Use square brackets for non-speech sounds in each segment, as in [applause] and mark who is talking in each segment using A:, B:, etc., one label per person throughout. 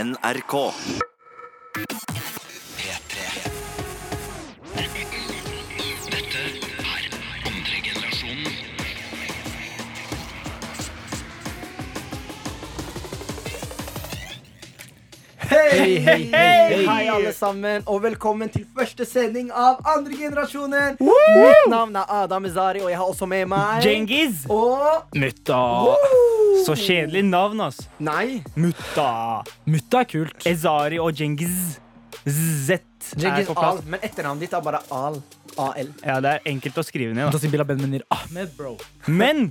A: NRK.
B: Hei, hei, hei,
C: Hei, alle sammen, og velkommen til første sending av Andre generasjonen. Mitt navn er Adam Izari, og jeg har også med meg
B: Djengis.
C: Og
B: Mutta. Så kjedelig navn, ass.
C: Nei.
B: Mutta.
D: Mutta er kult.
B: Ezari og Djengis. Z er
C: Djengis ah.
B: på
C: Al,
B: plass.
C: men etternavnet ditt er bare Al. AL.
B: Ja, det er enkelt å
C: [laughs]
B: skrive ned. da.
D: Mutasibila Benvenir Ahmed, bro.
B: Men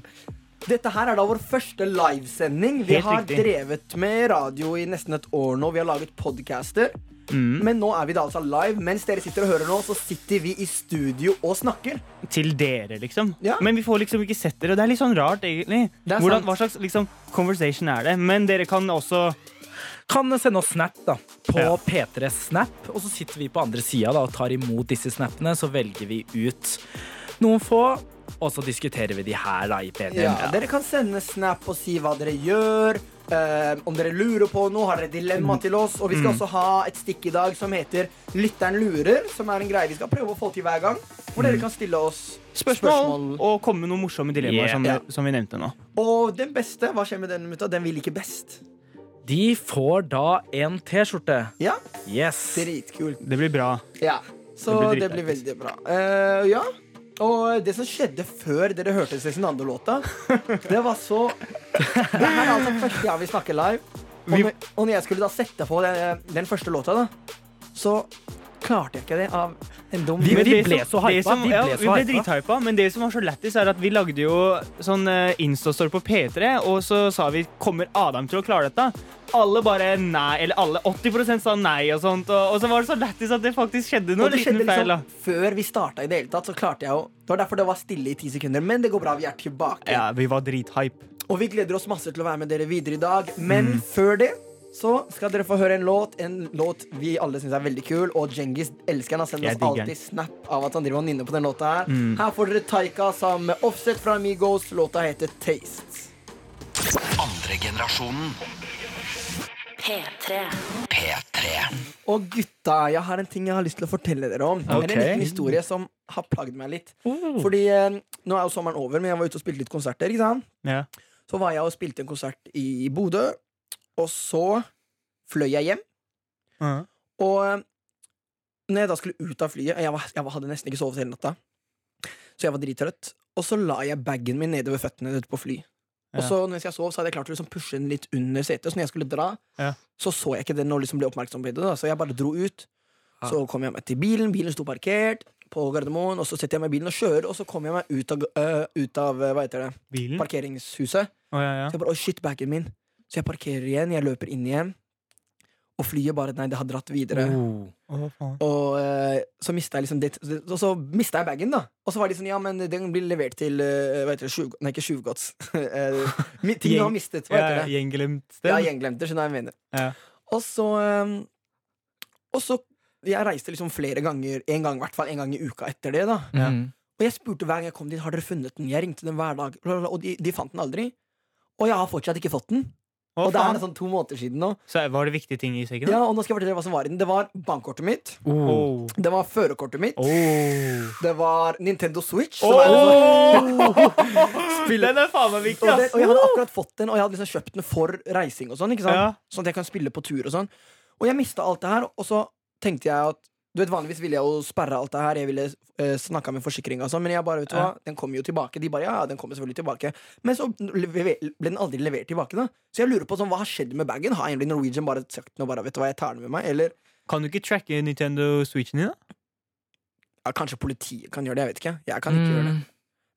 C: Dette her er da vår første livesending. Vi
B: Helt
C: har
B: riktig.
C: drevet med radio i nesten et år nå. Vi har laget podcaster.
B: Mm.
C: Men nå er vi da altså live. Mens dere sitter og hører nå, så sitter vi i studio og snakker.
B: til dere, liksom.
C: Ja.
B: Men vi får liksom ikke sett dere, og det er litt sånn rart, egentlig.
C: Det er
B: Hvordan,
C: sant.
B: hva slags liksom, conversation er det? Men dere kan også
D: Kan sende oss snap da på
B: Ja.
D: P3 Snap, og så sitter vi på andre sida og tar imot disse snappene. Så velger vi ut noen få, og så diskuterer vi de her da i P3.
C: Ja, Dere kan sende snap og si hva dere gjør. eh, om dere lurer på noe, har dere dilemma til oss. Og vi skal også ha et stikk i dag som heter Lytteren lurer. Som er en greie vi skal prøve å få til hver gang. Hvor dere kan stille oss
B: spørsmål,
C: Mm. spørsmål.
B: og komme med noen morsomme dilemmaer,
D: Yeah.
B: som,
C: Ja.
B: som vi nevnte nå.
C: Og den beste, hva skjer med den mutta? Den vi liker best.
D: De får da en T-skjorte.
C: Ja,
D: Yes.
C: dritkult.
B: Det blir bra.
C: Ja. Så
B: Det blir
C: det blir veldig bra. Eh, ja. Og det som skjedde før dere hørte Cezinando-låta,
B: [laughs]
C: det var så Det her er altså første gang vi snakker live. Og
B: Vi-
C: når, og når jeg skulle da sette på den, den første låta, da, så klarte jeg ikke det av en dum
D: Vi-
B: Men
D: vi
B: det
D: ble
B: som-
D: så hypa,
B: det Som,
D: vi ble
B: ja,
D: så
B: vi ble
D: hypa.
B: drithypa. Men det som var så lættis, er at vi lagde jo sånn eh, Insta-story på P3, og så sa vi 'Kommer Adam til å klare dette?' Alle bare nei, eller alle 80 sa nei og sånt. Og, og så var det så lættis at det faktisk skjedde noe.
C: Og det
B: liten
C: skjedde
B: feil, da.
C: liksom før vi starta i det hele tatt, så klarte jeg jo Det var derfor det var stille i ti sekunder, men det går bra, vi er tilbake.
B: Ja, vi var drithype.
C: Og vi gleder oss masse til å være med dere videre i dag. Men
B: Mm.
C: før det så skal dere få høre en låt. En låt vi alle syns er veldig kul. Og Djengis elsker den. Han sender
B: Jeg
C: oss
B: digger den. Mm.
C: alltid snap av at han driver og nynner på den låta her. Her får dere Taika sammen med Offset fra Amigos. Låta heter Taste.
E: P3.
C: Og gutta, jeg har en ting jeg har lyst til å fortelle dere om. Det er en
D: Ok.
C: liten historie som har plagd meg litt.
B: Uh.
C: Fordi eh, nå er jo sommeren over, men jeg var ute og spilte litt konserter. ikke sant?
B: Ja.
C: Så var jeg og spilte en konsert i Bodø, og så fløy jeg hjem.
B: Mhm.
C: Og eh, når jeg da skulle ut av flyet Jeg, var, jeg var- hadde nesten ikke sovet hele natta, så jeg var drittrøtt. Og så la jeg bagen min nedover føttene ute på fly. Og
B: Ja.
C: så når jeg sov, så hadde jeg klart å liksom pushe den litt under setet. Så når jeg skulle dra,
B: Ja.
C: så så jeg ikke den og liksom ble oppmerksom på det. Da. Så jeg bare dro ut.
B: Ah.
C: Så kom jeg meg til bilen. Bilen sto parkert på Gardermoen. Og så setter jeg meg i bilen og kjører, og så kommer jeg meg ut av, øh, ut av øh, hva heter det,
B: Bilen?
C: parkeringshuset.
B: Å, ja, ja.
C: Så jeg bare, «Oi, shit, bagen min Så jeg parkerer igjen, jeg løper inn igjen Og flyet bare, nei, det har dratt videre
B: Mm.
D: Oh.
B: Å, faen.
C: Og eh, så mistet jeg liksom det det- Og så mistet jeg bagen da Og så var de sånn, ja, men den blir levert til eh, Hva heter det, sjuv, nei, ikke sjuvgods [laughs] Eh,
B: [laughs]
C: mi- Ting du har mistet, hva
B: Ja,
C: heter det?
B: Gjenglemt sted.
C: Ja, gjenglemte, skjønner jeg hva jeg mener
B: Ja.
C: Og så eh, Og så jeg reiste liksom flere ganger En gang, i hvert fall en gang i uka etter det da
D: Mm.
C: Og jeg spurte hver gang jeg kom dit, har dere funnet den? Jeg ringte dem hver dag, og de, de fant den aldri Og jeg har fortsatt ikke fått den
B: Å,
C: og det er
B: faen.
C: sånn to måneder siden nå.
B: Så var det viktige ting i sekken? da?
C: Ja, og nå skal jeg fortelle dere hva som var i den. Det var bankkortet mitt.
D: Oh.
B: Å.
C: Det var førerkortet mitt. [laughs]
B: Å.
C: Det var Nintendo Switch. som er liksom-
B: Å. Den er faen meg
C: [laughs]
B: viktig,
C: og, det,
B: ass.
C: og jeg hadde akkurat fått den, og jeg hadde liksom kjøpt den for reising og sånn. ikke sant?
B: Ja.
C: Sånn at jeg kan spille på tur og sånn. Og jeg mista alt det her, og så tenkte jeg at du vet, Vanligvis ville jeg jo sperre alt det her, jeg ville uh, snakka med forsikringa og sånn, men jeg bare, vet du hva, den kommer jo tilbake. De bare ja, ja, den kommer selvfølgelig tilbake. Men så leve- ble den aldri levert tilbake, da. Så jeg lurer på sånn, hva har skjedd med bagen? Har egentlig Norwegian bare sagt den og bare vet du hva, jeg tar den med meg? Eller
B: Kan du ikke tracke Nintendo Switchen din, da?
C: ja, Kanskje politiet kan gjøre det, jeg vet ikke. Jeg kan ikke gjøre
D: Mm.
C: det.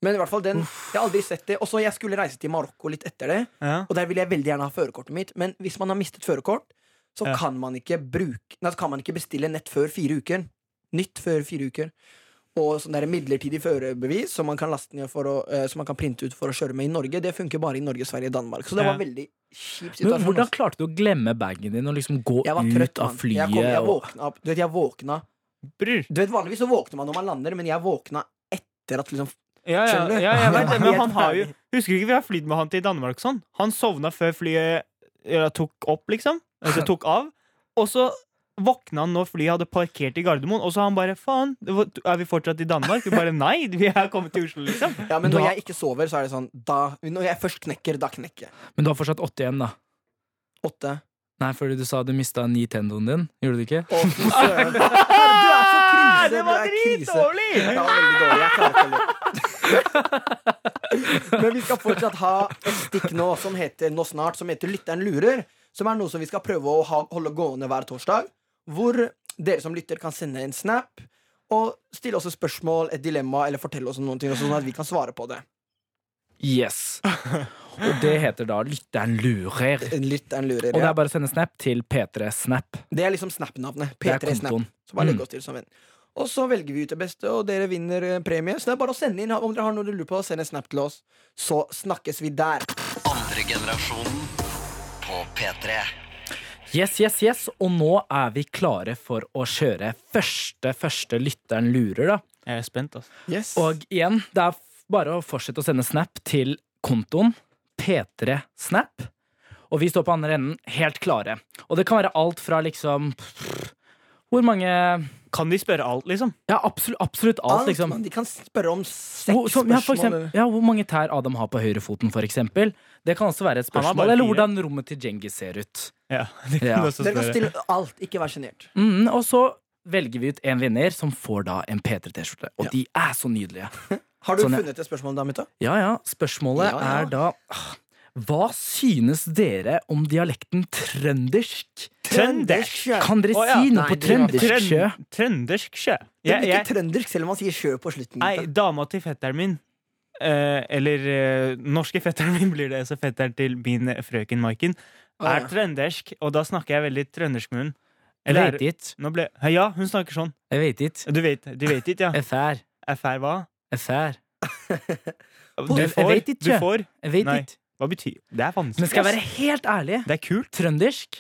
C: Men i hvert fall den, jeg har aldri sett det. Og så jeg skulle reise til Marokko litt etter det,
B: Ja.
C: og der ville jeg veldig gjerne ha førerkortet mitt. Men hvis man har mistet førerkort, så
B: Ja.
C: kan man ikke bruke Nei, så kan man ikke bestille nett før fire uker. Nytt før fire uker. Og sånn der midlertidig førerbevis som man kan laste ned for å, eh, Som man kan printe ut for å kjøre med i Norge, det funker bare i Norge, Sverige og Danmark. Så det
B: Ja.
C: var en veldig kjip situasjon.
D: Men hvordan
C: altså.
D: klarte du å glemme bagen din og liksom gå
C: jeg var
D: ut
C: trøtt,
D: av
C: mann.
D: flyet?
C: Jeg, kom, jeg
D: og-
C: våkna opp. Du vet, jeg våkna
B: Bror.
C: Du vet, Vanligvis så våkner man når man lander, men jeg våkna etter at liksom
B: Ja, ja,
C: Skjønner du?
B: [laughs] ja, jeg vet det, men
C: Helt
B: han har jo
C: ferdig.
B: Husker du ikke vi har flydd med han til Danmark og sånn? Han sovna før flyet ja, tok opp, liksom. Altså tok av. Og så våkna han når flyet hadde parkert i Gardermoen, og så han bare faen, det var- er vi fortsatt i Danmark? Vi bare nei, vi er kommet til Oslo, liksom.
C: Ja, men når
D: Da-
C: jeg ikke sover, så er det sånn da, Når jeg først knekker, da knekker jeg.
D: Men du har fortsatt åtte igjen, da.
C: Åtte.
D: Nei, fordi du sa du mista Nintendoen din. Gjorde du ikke?
C: Å,
D: [laughs]
C: fy søren. Du er så
B: [laughs] Ah,
C: krise!
B: det
C: du
B: var
C: er krise. Det
B: dritdårlig!
C: var veldig dårlig. Jeg klarte
D: [laughs]
C: det. Men vi skal fortsatt ha et stikk nå som heter Nå snart, som heter Lytteren lurer. Som er noe som vi skal prøve å ha, holde gående hver torsdag. Hvor dere som lytter, kan sende en snap og stille oss et spørsmål, et dilemma, eller fortelle oss om noen ting, også, sånn at vi kan svare på det. [laughs]
D: Yes. Og det heter da Lytteren lurer.
C: Lytteren lurer.
D: Og det
C: Ja.
D: er bare å sende snap til P3 Snap.
C: Det er liksom Snap-navnet.
D: Det er
C: P3 Snap.
D: kontoen.
C: Så bare
D: Mm.
C: legg oss til som venn. Og så velger vi ut det beste, og dere vinner eh, premie. Så det er bare å sende inn om dere har noe du lurer på. Send en snap til oss, så snakkes vi der.
A: Andre generasjonen på P3.
D: Yes, yes, yes. Og nå er vi klare for å kjøre første, første Lytteren lurer, da.
B: Jeg er spent, altså.
C: Yes.
D: Og igjen, det er f- bare å fortsette å sende snap til kontoen P3 Snap. Og vi står på andre enden, helt klare. Og det kan være alt fra liksom Hvor mange Ja,
B: Kan de spørre alt, liksom?
D: absolutt, absolutt alt,
C: Alt,
D: liksom.
C: man, de kan spørre om seks
D: Hvor, som, ja, for
C: spørsmål.
D: eksempel, ja, hvor mange tær Adam har på høyrefoten, for eksempel. Det kan også være et
B: Han har bare
D: spørsmål. Eller
B: fire.
D: hvordan rommet til Djengis ser ut.
B: Ja, de kan
D: Ja.
B: også
C: dere kan
B: spørre.
C: stille alt. Ikke vær sjenert.
D: Mm, og så velger vi ut en vinner, som får da en P3-T-skjorte. Og de er så nydelige.
C: Har du
D: Sånn, ja.
C: funnet et spørsmål, Damita?
D: Ja, ja. Spørsmålet
C: Ja, ja.
D: er da ah, Hva synes dere om dialekten trøndersk?
B: Trøndersk!
D: Kan dere
B: Å, ja.
D: si noe
C: Nei,
D: på
C: det var-
D: trøndersk sjø?
B: Trøn- Trøndersk sjø.
C: Det
B: Jeg,
C: blir
B: jeg,
C: ikke trøndersk, selv om man sier sjø på slutten.
B: nei,
C: gutta.
B: dama til fetteren min eh, eller eh, norske fetteren min blir det, så fetteren til min frøken Maiken
C: Å,
B: er
C: ja.
B: trøndersk, og da snakker jeg veldig trøndersk med hun.
D: Jeg
B: Eller
D: vet
B: er-
D: ikke.
B: nå ble, Hæ, Ja, hun snakker sånn.
D: Jeg vet ikke.
B: Du vet, du vet ikke,
D: [laughs]
B: ja.
D: Jeg fær.
B: FR hva?
D: Jeg fær.
B: Du
D: Jeg
B: får.
D: vet ikke.
B: Du får.
D: Jeg vet
B: Nei.
D: ikke.
B: Hva betyr Det er vanskelig.
D: Men skal jeg
B: ass.
D: være helt ærlig?
B: Det er kult.
D: Trøndersk?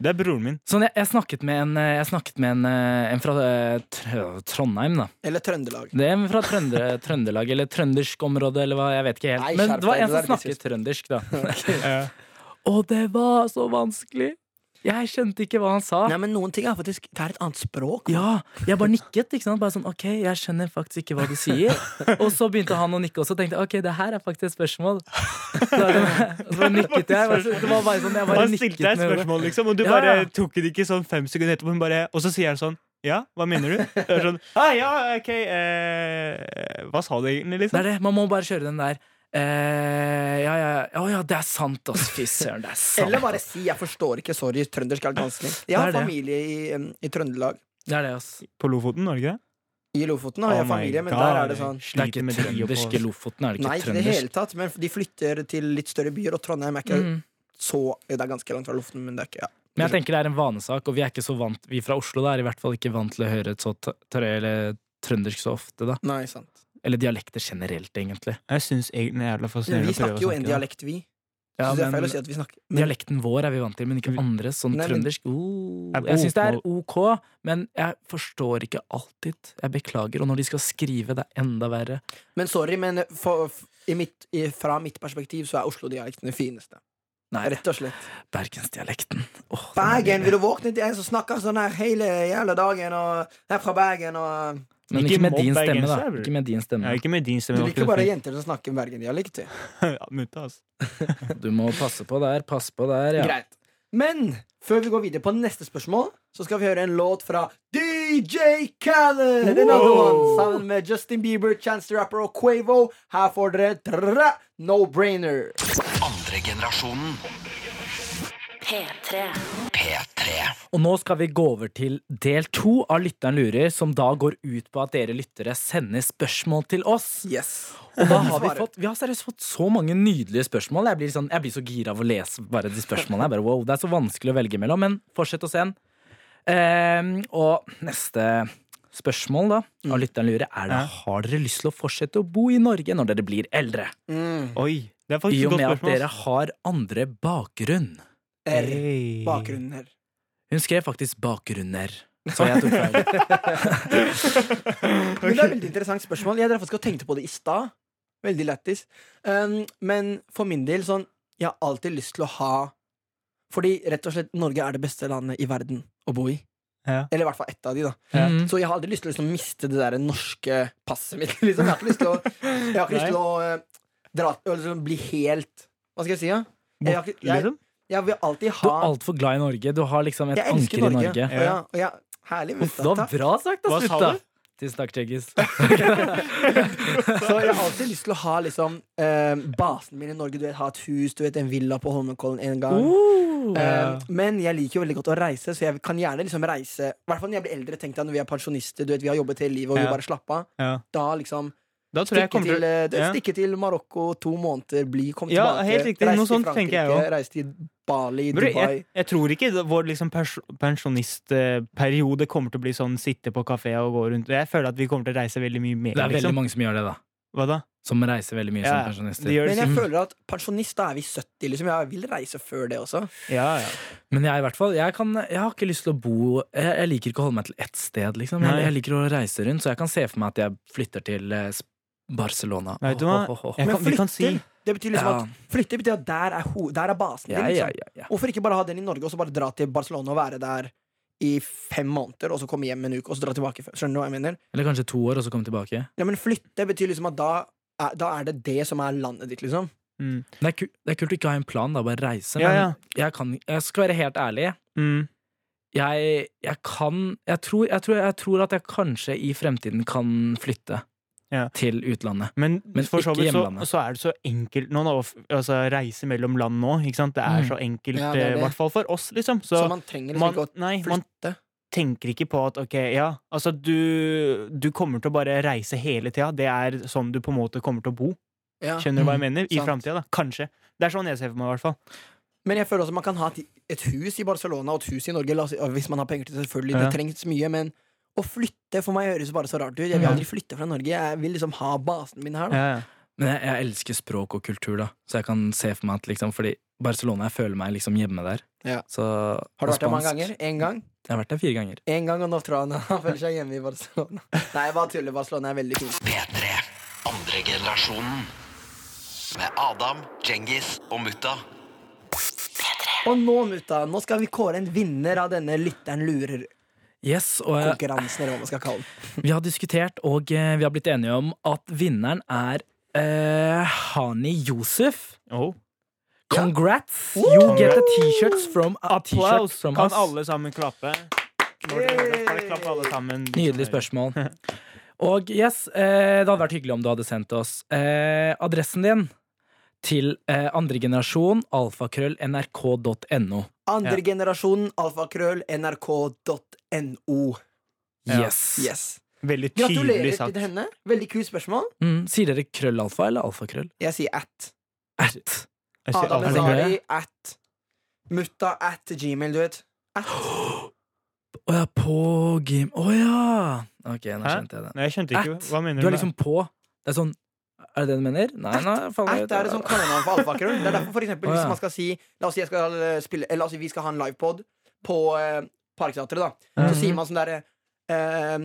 B: Det er broren min.
D: Sånn, jeg, jeg snakket med en, eh, jeg snakket med en, eh, en fra eh, Tr- Trondheim, da.
C: Eller Trøndelag.
D: Det er en fra Trøndre, Trøndelag, eller trøndersk område, eller hva, jeg vet ikke helt.
C: Nei,
D: Men
C: skjerp
D: det var
C: deg,
D: en
C: det
D: som
C: der er litt
D: snakket trøndersk, da.
C: [laughs]
B: Eh,
D: Og det var så vanskelig! Jeg skjønte ikke hva han sa.
C: Nei, men noen ting er faktisk Det er et annet språk.
D: Ja, jeg bare nikket, ikke sant? Bare sånn, ok, jeg skjønner faktisk ikke hva du
C: [laughs]
D: sier. Og så begynte han å nikke også, og tenkte jeg, ok, det her er faktisk
C: [laughs]
D: et spørsmål. Så, da- og så nikket jeg, bare, så- det var bare sånn, jeg bare
B: Eh, Han
D: nikket
B: stilte deg et
D: med hodet.
B: spørsmål, liksom, og du
D: Ja,
B: bare
D: ja.
B: tok det ikke sånn fem sekunder etterpå. Hun bare, og så sier han sånn Ja, hva
D: [laughs]
B: mener du? Det er sånn, ah, ja, ok eh, Hva sa du egentlig,
D: Det
B: liksom?
D: er det, man må bare kjøre den der. Eh, ja, ja, ja, ja, det er sant, ass, fy søren, det er sant.
C: Eller bare si 'jeg forstår ikke', sorry. Trøndersk er vanskelig. Jeg
D: Det
C: har
D: er det.
C: familie i, em, i Trøndelag.
D: Det er det, ass.
B: På Lofoten, Norge?
C: I Lofoten har jeg familie, men der Oh er det sånn
D: Det er ikke trøndersk i
B: Lofoten.
D: Lofoten, er det
C: Nei,
D: ikke
C: ikke i det hele
D: trøndersk?
C: tatt, men de flytter til litt større byer, og Trondheim er ikke
D: Mm.
C: så Det er ganske langt fra luften, men det er ikke ja.
D: Men jeg tenker det er en vanesak, og vi er ikke så vant, vi fra Oslo da, er i hvert fall ikke vant til å høre et så t- tr eller trøndersk så ofte da.
C: Nei, sant.
D: Eller dialekter generelt, egentlig.
B: Jeg syns egentlig det er jævla
C: Men
B: fascinerende
C: vi
B: å prøve å
C: snakker jo en
B: snakke. da.
C: dialekt, vi.
D: Ja,
C: så det er feil
D: men-
C: å si at vi snakker men,
D: Dialekten vår er vi vant til, men ikke andres. Sånn
C: Nei, men-
D: trøndersk oh.
B: Er
D: Jeg syns det er
B: bokmål-
D: ok, men jeg forstår ikke alltid. Jeg beklager. Og når de skal skrive, det er enda verre.
C: men sorry, men for, f- i mitt, i, fra mitt perspektiv så er Oslo-dialekten det fineste.
D: Nei,
C: Rett og slett.
D: bergensdialekten. Åh, den er
C: Bergen,
D: nydelig.
C: vil du våkne til en som snakker sånn her hele jævla dagen, og jeg er fra Bergen, og
D: Men
B: Ikke
D: ikke med
B: mobb
D: din stemme, da.
B: bergensere, bror.
D: Ikke med din
B: Ja,
D: stemme.
B: ikke med din
C: Du
B: stemme.
C: liker bare jenter som snakker Bergen-dialekt. du.
B: [laughs] Ja, mutta, altså.
D: Du må passe på der, passe på der, ja.
C: Greit. Men før vi går videre på neste spørsmål, så skal vi høre en låt fra DJ Khaled! Another one, sammen med Justin Bieber, Chance the Rapper og Quavo. Her får dere trrra, No Brainer.
A: Andre generasjonen
E: P3.
A: P3.
D: Og nå skal vi gå over til del to av Lytteren lurer, som da går ut på at dere lyttere sender spørsmål til oss.
C: Yes.
D: Og da
B: [laughs]
D: har vi fått Vi har seriøst fått så mange nydelige spørsmål. Jeg blir, sånn, jeg blir så gira av å lese bare de spørsmålene. Jeg bare, wow, det er så vanskelig å velge mellom. Men fortsett å sende. Ehm, og neste spørsmål da av lytteren lurer er
B: Mm.
D: da
B: Ja.
D: har dere lyst til å fortsette å bo i Norge når dere blir eldre.
C: Mm.
B: Oi, det er
D: I
B: faktisk et
D: og
B: godt
D: med at
B: spørsmål.
D: dere har andre bakgrunn.
C: R.
B: Hey.
C: Bakgrunnen her.
D: Hun skrev faktisk bakgrunner. Så jeg tok feil.
B: [laughs]
C: Men det er et veldig interessant spørsmål. Jeg drev faktisk og tenkte på det i stad. Veldig lættis. Um, men for min del, sånn Jeg har alltid lyst til å ha Fordi rett og slett Norge er det beste landet i verden å bo i.
B: Ja.
C: Eller i hvert fall ett av de, da.
D: Mm.
C: Så jeg har aldri lyst til å liksom miste det der norske passet mitt. [laughs] Liksom. Jeg har ikke lyst til å, jeg har ikke lyst til å eh, dra, eller liksom, bli helt Hva skal jeg si, da? Jeg, har ikke- jeg,
B: liksom.
C: jeg vil alltid
D: Du
C: ha
D: er altfor glad i Norge. Du har liksom et
C: Jeg elsker
D: anker
C: Norge.
D: i Norge.
C: Og jeg, og jeg, herlig.
D: Uff, det var
C: takk.
D: bra sagt, da,
B: Hva sa
D: slutt, da. Tusen takk, Cheggis.
C: Så jeg har alltid lyst til å ha liksom, eh, basen min i Norge. Du vet, Ha et hus, du vet, en villa på Holmenkollen en gang.
D: Uh,
C: Eh, men jeg liker jo veldig godt å reise, så jeg kan gjerne liksom reise I hvert fall når jeg blir eldre. Tenk deg når vi er pensjonister, du vet, vi har jobbet hele livet og
B: Ja.
C: vi bare slappe av.
B: Ja.
C: Da liksom
B: Da tror jeg jeg
C: stikke
B: kommer
C: til,
B: til
C: eh, du vet,
B: ja.
C: stikke til Marokko to måneder, bli, kom
B: Ja,
C: tilbake.
B: helt riktig.
C: Reise
B: Noe
C: til
B: sånt tenker jeg
C: Frankrike, Reise til Bali,
B: Bro,
C: Dubai.
B: jeg, jeg tror ikke det- vår liksom pers pensjonistperiode kommer til å bli sånn sitte på kafé og gå rundt. Jeg føler at vi kommer til å reise veldig mye mer.
D: det er veldig
B: liksom.
D: mange som gjør det, da.
B: Hva da?
D: Som reiser veldig mye
B: Ja,
D: som pensjonister.
B: de gjør det
C: Men jeg
B: som-
C: føler at pensjonist, da er vi 70, liksom. Jeg vil reise før det også.
B: Ja, ja.
D: Men jeg i hvert fall, jeg, kan, jeg har ikke lyst til å bo Jeg, jeg liker ikke å holde meg til ett sted, liksom. Jeg,
B: Nei.
D: jeg liker å reise rundt, så jeg kan se for meg at jeg flytter til eh, Sp- Barcelona.
B: Nei, vet du hva?
D: Ho, ho, ho, ho.
B: Jeg
C: Men
B: kan, vi kan si
C: flytter, Det betyr liksom
D: Ja.
C: at flytte betyr at der er, ho der er basen din.
D: Ja, ja,
B: sånn-
C: Liksom.
D: ja, ja.
C: Hvorfor ikke bare ha den i Norge, og så bare dra til Barcelona og være der i fem måneder, og så komme hjem en uke, og så dra tilbake? Skjønner du hva jeg mener?
D: Eller kanskje to år, og så komme tilbake.
C: Ja, men flytte betyr liksom at da er, da er det det som er landet ditt, liksom.
B: mm,
D: Det er, ku, det er kult å ikke ha en plan, da. Bare
C: Sånn
D: reise.
B: Ja,
D: Men
B: ja.
D: Jeg, kan, jeg skal være helt ærlig.
B: mm,
D: Jeg, jeg kan jeg tror, jeg, tror, jeg tror at jeg kanskje i fremtiden kan flytte
B: Ja.
D: til utlandet.
B: Men,
D: Men
B: for så
D: ikke
B: vidt så,
D: hjemlandet.
B: så er det så enkelt nå, nå altså, reise mellom land nå. Ikke sant? Det er
D: Mm.
B: så enkelt, eh, i
C: Ja, det er det.
B: hvert fall for oss, liksom. Så,
C: Så, man trenger liksom
B: man,
C: ikke å
B: nei, man
C: flytte.
B: tenker ikke på at ok, ja, altså du, du kommer til å bare reise hele tida. Det er sånn du på en måte kommer til å bo.
C: Ja.
B: Skjønner du hva jeg
D: Mm.
B: mener? I
C: sant.
B: framtida, da. Kanskje. Det er sånn jeg ser for meg, i hvert fall.
C: Men jeg føler også man kan ha et, et hus i Barcelona og et hus i Norge, la oss, si- og hvis man har penger til det, selvfølgelig.
B: Ja.
C: Det trengs mye, men å flytte for meg høres bare så rart ut. Jeg vil
B: Ja.
C: aldri flytte fra Norge. Jeg vil liksom ha basen min her. Da.
B: Ja, ja.
D: Men jeg, jeg elsker språk og kultur, da. Så jeg kan se for meg at liksom Fordi Barcelona, jeg føler meg liksom hjemme der.
C: Ja.
D: Så,
C: Har du vært
D: og
C: der mange
D: spansk.
C: ganger? Én gang?
D: Jeg har vært der fire ganger.
C: En gang, og nå tror han [laughs] han føler seg hjemme i Barcelona. Nei, jeg bare tuller. Barcelona er veldig kult.
A: P3. Andre generasjonen. Med Adam, Djengis og Mutta.
C: Og nå, mutta, nå skal vi kåre en vinner av denne lytteren lurer-konkurransen,
D: Yes, og jeg,
C: eller hva man skal kalle den.
D: vi har diskutert, og eh, vi har blitt enige om at vinneren er eh, Hani Josef.
B: Oh.
D: Congrats! You get a t-shirts from, a t-shirt
B: Applaus!
D: from
B: Kan
D: us.
B: alle sammen klappe? Når det høres, bare klapp alle sammen.
D: Nydelig
B: [laughs]
D: spørsmål. Og yes, eh, det hadde vært hyggelig om du hadde sendt oss eh, adressen din til eh, andregenerasjon alfakrøll nrk.no.
C: Andre generasjonen, alfakrøll, nrk.no.
D: Yes.
C: Yes.
B: Veldig tydelig
C: Gratulerer
B: sagt.
C: til henne. Veldig kult spørsmål.
D: Mm, sier dere krøllalfa eller alfakrøll?
C: Jeg sier at.
D: At.
B: Jeg sier
C: Adam
B: alt.
D: det
C: Ezari at. Mutta at gmail, du vet. At.
D: Å ja, på gym Å ja! Ok, nå
B: Hæ?
D: skjønte jeg det.
B: Nei, jeg skjønte ikke.
D: At.
B: Hva mener
D: Du
B: du?
D: er
B: med-
D: liksom på. Det er sånn Er det det du mener? Nei, nei, faen. jeg
C: At er
D: vet
C: sånn et
D: det.
C: sånt kallenavn for alfakrøll. Det er derfor for eksempel,
D: Å, ja.
C: hvis man skal si La oss si, jeg skal, eh, spille, eller, la oss si vi skal ha en livepod på eh, Parkteatret, da. Så
D: Mhm.
C: sier man sånn derre eh,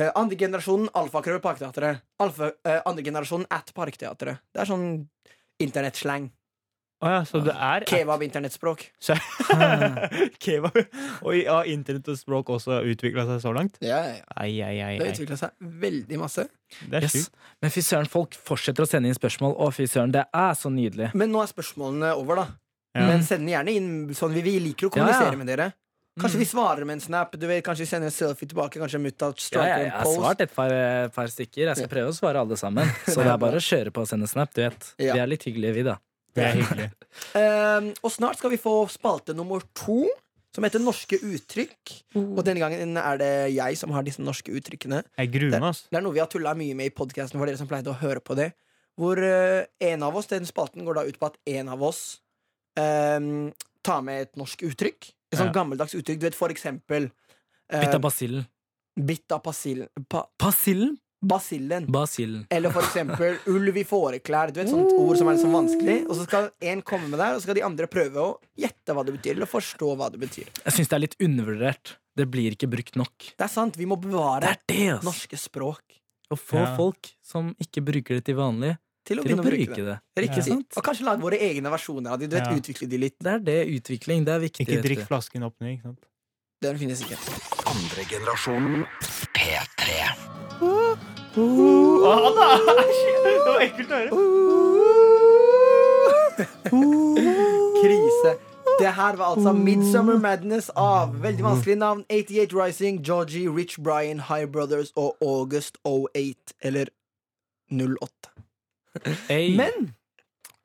C: eh, Andre generasjonen alfakrøll Parkteatret. Alfa, eh, andre generasjonen at Parkteatret. Det er sånn internettslang.
B: Å ja, så det er
C: Kebab-internettspråk.
B: [laughs] Kebab Og ja, internett og språk også utvikla seg så langt?
C: Ja, ja, ja.
B: Ai, ai, ai,
C: Det har
B: ai.
C: utvikla seg veldig masse.
B: Det er
D: Yes.
B: sjukt.
D: Men fy søren, folk fortsetter å sende inn spørsmål. Å, fy søren, det er så nydelig.
C: Men nå er spørsmålene over, da.
B: Ja.
C: Men send den gjerne inn sånn vi, vi liker å
D: Ja, Mm. ja.
C: kommunisere med dere. Kanskje vi svarer med en snap, du vet, kanskje vi sender en selfie tilbake. Kanskje mutta
D: Ja,
C: striker
D: jeg, jeg
C: en
D: har
C: post.
D: svart et par, eh, par stykker. Jeg skal prøve å svare alle sammen. Så det er bare å kjøre på og sende snap. Du vet.
C: Ja.
D: Vi er litt hyggelige, vi, da.
B: Det er hyggelig.
C: Ehm, og snart skal vi få spalte nummer to, som heter Norske uttrykk.
D: Oh.
C: Og denne gangen er det jeg som har disse norske uttrykkene.
B: Jeg gruer meg, altså.
C: Det er noe vi har tulla mye med i podkasten for dere som pleide å høre på det. Hvor eh, en av oss, den spalten går da ut på at en av oss ehm, tar med et norsk uttrykk. Et sånn
B: Ja.
C: gammeldags uttrykk. Du vet for eksempel eh,
D: Bytt av basillen.
C: Bitt av basil, ba,
D: Basillen?
C: basillen.
D: Basillen.
C: Eller for eksempel ulv i fåreklær. Du vet, sånt ord som er liksom vanskelig. Og så skal én komme med der, og så skal de andre prøve å gjette hva det betyr. Eller forstå hva det betyr.
D: Jeg syns det er litt undervurdert. Det blir ikke brukt nok.
C: Det er sant, vi må
D: Det
C: bevare
D: er det, altså. ass!
C: norske språk.
D: Å få
B: Ja.
D: folk som ikke bruker det til vanlig,
C: til å
D: til å
C: begynne å bruke det.
D: bruke det. Ikke
C: Riktig.
D: sant?
C: Og kanskje lage våre egne versjoner av de. Du vet,
B: Ja.
C: Utvikle de litt.
D: Det er det utvikling. Det er viktig.
B: Ikke
D: vet
B: drikk
D: du.
B: flasken opp ned, ikke sant?
C: Den finnes ikke.
A: Andre generasjonen P3.
B: Å, han da! [laughs] Det var ekkelt å høre.
C: Krise. Det her var altså Midsummer Madness av veldig vanskelige navn. 88 Rising, Georgie, Rich Brian, High Brothers og August 08. Eller 08.
D: Hey.
C: Men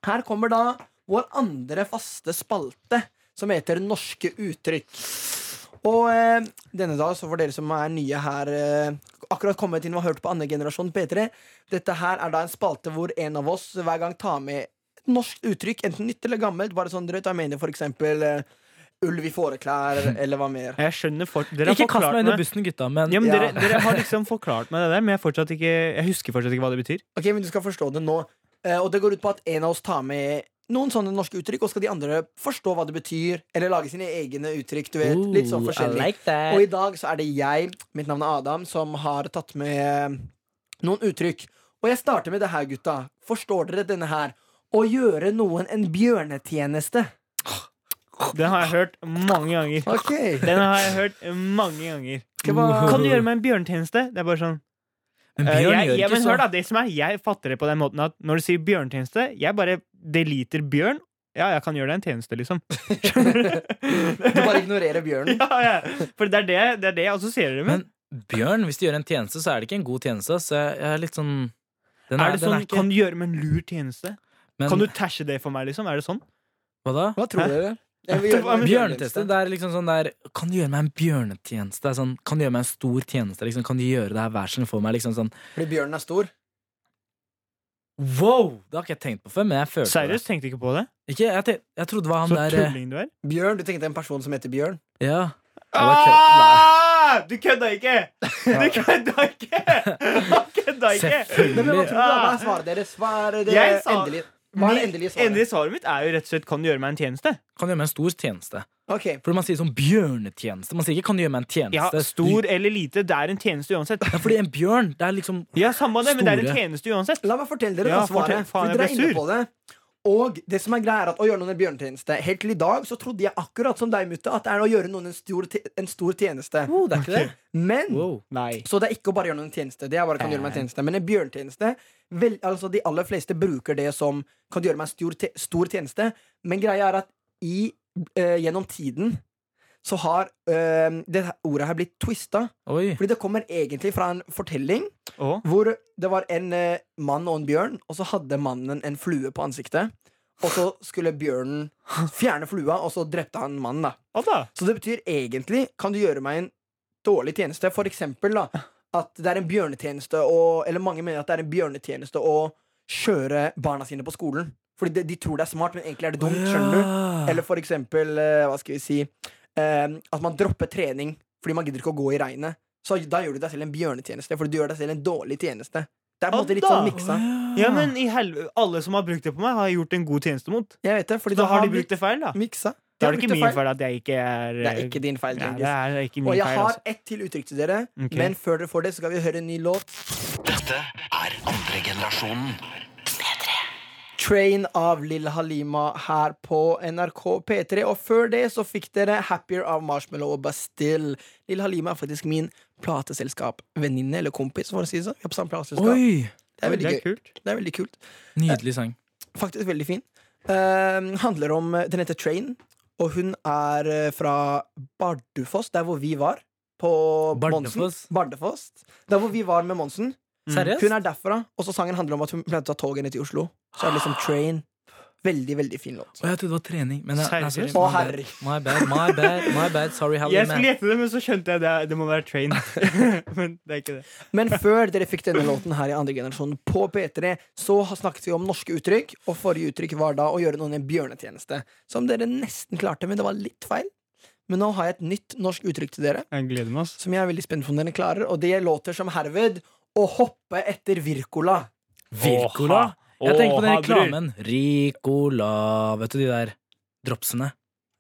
C: her kommer da vår andre faste spalte, som heter Norske uttrykk. Og eh, denne dag, så for dere som er nye her, eh, akkurat kommet inn og har hørt på andre generasjon P3, dette her er da en spalte hvor en av oss hver gang tar med et norsk uttrykk, enten nytt eller gammelt, bare sånn drøyt. Jeg mener for eksempel eh, ulv i fåreklær, eller hva mer.
B: Jeg skjønner for... Dere har
D: ikke kast
B: forklart
D: meg under
B: meg-
D: bussen, gutta, men
B: Ja, men
C: Ja.
B: dere, dere har liksom forklart meg det der, men jeg, fortsatt ikke, jeg husker fortsatt ikke hva det betyr.
C: Ok, men du skal forstå det nå. Eh, og det går ut på at en av oss tar med noen sånne norske uttrykk, og skal de andre forstå hva det betyr, eller lage sine egne uttrykk, du vet. Litt sånn
D: Ooh, Oh, I
C: forskjellig.
D: like that.
C: Og i dag så er det jeg, mitt navn er Adam, som har tatt med noen uttrykk. Og jeg starter med det her, gutta. Forstår dere denne her? Å gjøre noen en bjørnetjeneste.
B: Den har jeg hørt mange ganger.
C: Ok.
B: Den har jeg hørt mange ganger.
C: Skal bare...
B: Kan du gjøre meg en bjørnetjeneste? Det er bare sånn eh,
D: Men Bjørn
B: jeg,
D: gjør
B: jeg,
D: ikke sånn.
B: men
D: så.
B: hør da, det som er, jeg fatter det på den måten at når du sier bjørnetjeneste, jeg bare deliter bjørn. Ja, jeg kan gjøre deg en tjeneste,
D: [laughs]
B: liksom.
C: Du bare ignorerer bjørnen.
B: Ja, ja. For det er det, det, er det jeg assosierer det med.
D: Men Bjørn, hvis du gjør en tjeneste, så er det ikke en god tjeneste. Så jeg jeg er litt sånn Den
B: er det
D: den
B: sånn,
D: ikke-
B: Kan du gjøre meg en lur tjeneste?
D: men,
B: Kan du tæsje det for meg, liksom? Er det sånn?
D: Hva da?
C: Hva tror
B: Hæ?
C: dere? Jeg vil gjøre noen
D: Bjørnetjeneste, det er liksom sånn der Kan du gjøre meg en bjørnetjeneste? Det er Sånn, kan du gjøre meg en stor tjeneste? Liksom, kan du gjøre det her vær så snill for meg? Liksom sånn
C: Fordi bjørnen er stor.
D: Wow! Det har ikke jeg tenkt på før, men jeg følte
B: Seriøst, tenkte ikke på det?
D: det. Ikke, jeg, te, jeg trodde det var han
B: Så
D: der eh,
B: tulling du er.
C: Bjørn, Du tenkte en person som heter Bjørn?
D: Ja.
B: Ah! Du kødda ikke! Du kødda ikke!
D: [laughs]
B: Han kødda ikke!
C: Nei, men hva
D: Selvfølgelig.
C: tror dere? Hva er svaret deres? Hva er det
B: Ah. Jeg sa-
C: endelige, hva er det endelige svaret?
B: Endelig svaret mitt er jo rett og slett 'kan du gjøre meg en tjeneste'?
D: Kan du gjøre meg en stor tjeneste?
C: Ok,
D: Fordi man sier sånn bjørnetjeneste. Man sier ikke 'kan du gjøre meg en tjeneste'?
B: Ja, Stor eller lite, det er en tjeneste uansett.
D: Ja, fordi en bjørn, det er liksom
B: Ja, samme det, men det er en
D: Store.
B: tjeneste uansett.
C: La meg fortelle dere
B: Ja,
C: da svaret.
B: fortell. Faen,
C: for
B: jeg
C: dere
B: ble
C: er inne
B: sur.
C: på det. Og det som er greia er at å gjøre noen en bjørnetjeneste Helt til i dag så trodde jeg akkurat som deg, Mutte, at det er å gjøre noen en stor, te- en stor tjeneste.
B: Oh,
D: Wow, det er ikke det?
C: Men
D: Wow.
B: Nei.
C: Så det er ikke å bare gjøre noen tjeneste. Det er bare kan du gjøre meg en tjeneste Men en bjørnetjeneste vel, altså De aller fleste bruker det som kan du gjøre meg en stor, te stor tjeneste. Men greia er at i, eh, gjennom tiden så har eh, det her ordet her blitt twista.
D: Oi.
C: Fordi det kommer egentlig fra en fortelling
B: Å?
C: hvor det var en eh, mann og en bjørn, og så hadde mannen en flue på ansiktet. Og så skulle bjørnen fjerne flua, og så drepte han mannen, da.
B: Hva da?
C: Så det betyr egentlig Kan du gjøre meg en dårlig tjeneste? For eksempel da at det er en bjørnetjeneste å Eller mange mener at det er en bjørnetjeneste å kjøre barna sine på skolen. Fordi de, de tror det er smart, men egentlig er det dumt. Skjønner du? Eller for eksempel eh, Hva skal vi si eh, At man dropper trening fordi man gidder ikke å gå i regnet. Så da gjør du deg selv en bjørnetjeneste, fordi du gjør deg selv en dårlig tjeneste. Det er på en måte litt sånn miksa.
B: Ja, men i helv... Alle som har brukt det på meg, har gjort en god tjeneste mot.
C: Jeg vet det, fordi
B: Da
C: det
B: har de
C: blitt
B: brukt det feil, da.
C: miksa. De
B: Da er det
C: har
B: ikke
C: brukt
B: min feil at jeg ikke er
C: Det er ikke din feil,
B: Ja,
C: Genghis.
B: det er ikke min
C: Og jeg
B: feil,
C: har
B: altså.
C: ett til uttrykk til dere,
B: Ok.
C: men før dere får det, så skal vi høre en ny låt.
A: Dette er andre generasjonen P3.
C: Train av Lil Halima her på NRK P3. Og før det så fikk dere Happier av Marshmallow og Bastille. Lil Halima er faktisk min plateselskapvenninne eller kompis, for å si det sånn. Vi er på samme plateselskap.
D: Oi!
C: det er veldig
B: Det er
C: gøy.
B: kult.
C: Det er veldig kult.
D: Nydelig sang.
C: Faktisk veldig fin. Ehm, handler om Den heter Train, og hun er eh, fra Bardufoss, der hvor vi var. På
D: Bardufoss?
C: Monsen. Bardufoss. Der hvor vi var med Monsen.
B: Mm.
C: Hun
D: Seriøst?
C: er derfra, og så sangen handler om at hun pleide å ta toget ned til Oslo. Så er det liksom Train. Veldig, veldig fin låt.
D: Å, jeg trodde det var trening. Men jeg, nei, sorry.
B: Seriøst?
C: Å,
D: My bad.
C: herre.
D: My bad, my bad, my bad. Sorry, Hallie.
B: Jeg skulle gjette det, men så skjønte jeg det, det må være train. [laughs] men det er ikke det.
C: Men før dere fikk denne låten her i andre generasjon på P3, så har- snakket vi om norske uttrykk, og forrige uttrykk var da å gjøre noen en bjørnetjeneste. Som dere nesten klarte, men det var litt feil. Men nå har jeg et nytt norsk uttrykk til dere,
B: Jeg gleder meg. altså. ass.
C: som jeg er veldig spent på om dere klarer, og det låter som herved å hoppe etter Virkola.
D: Virkola?
B: Åha.
D: Jeg tenker på den
B: Åha, bror.
D: reklamen. Ricola Vet du de der dropsene?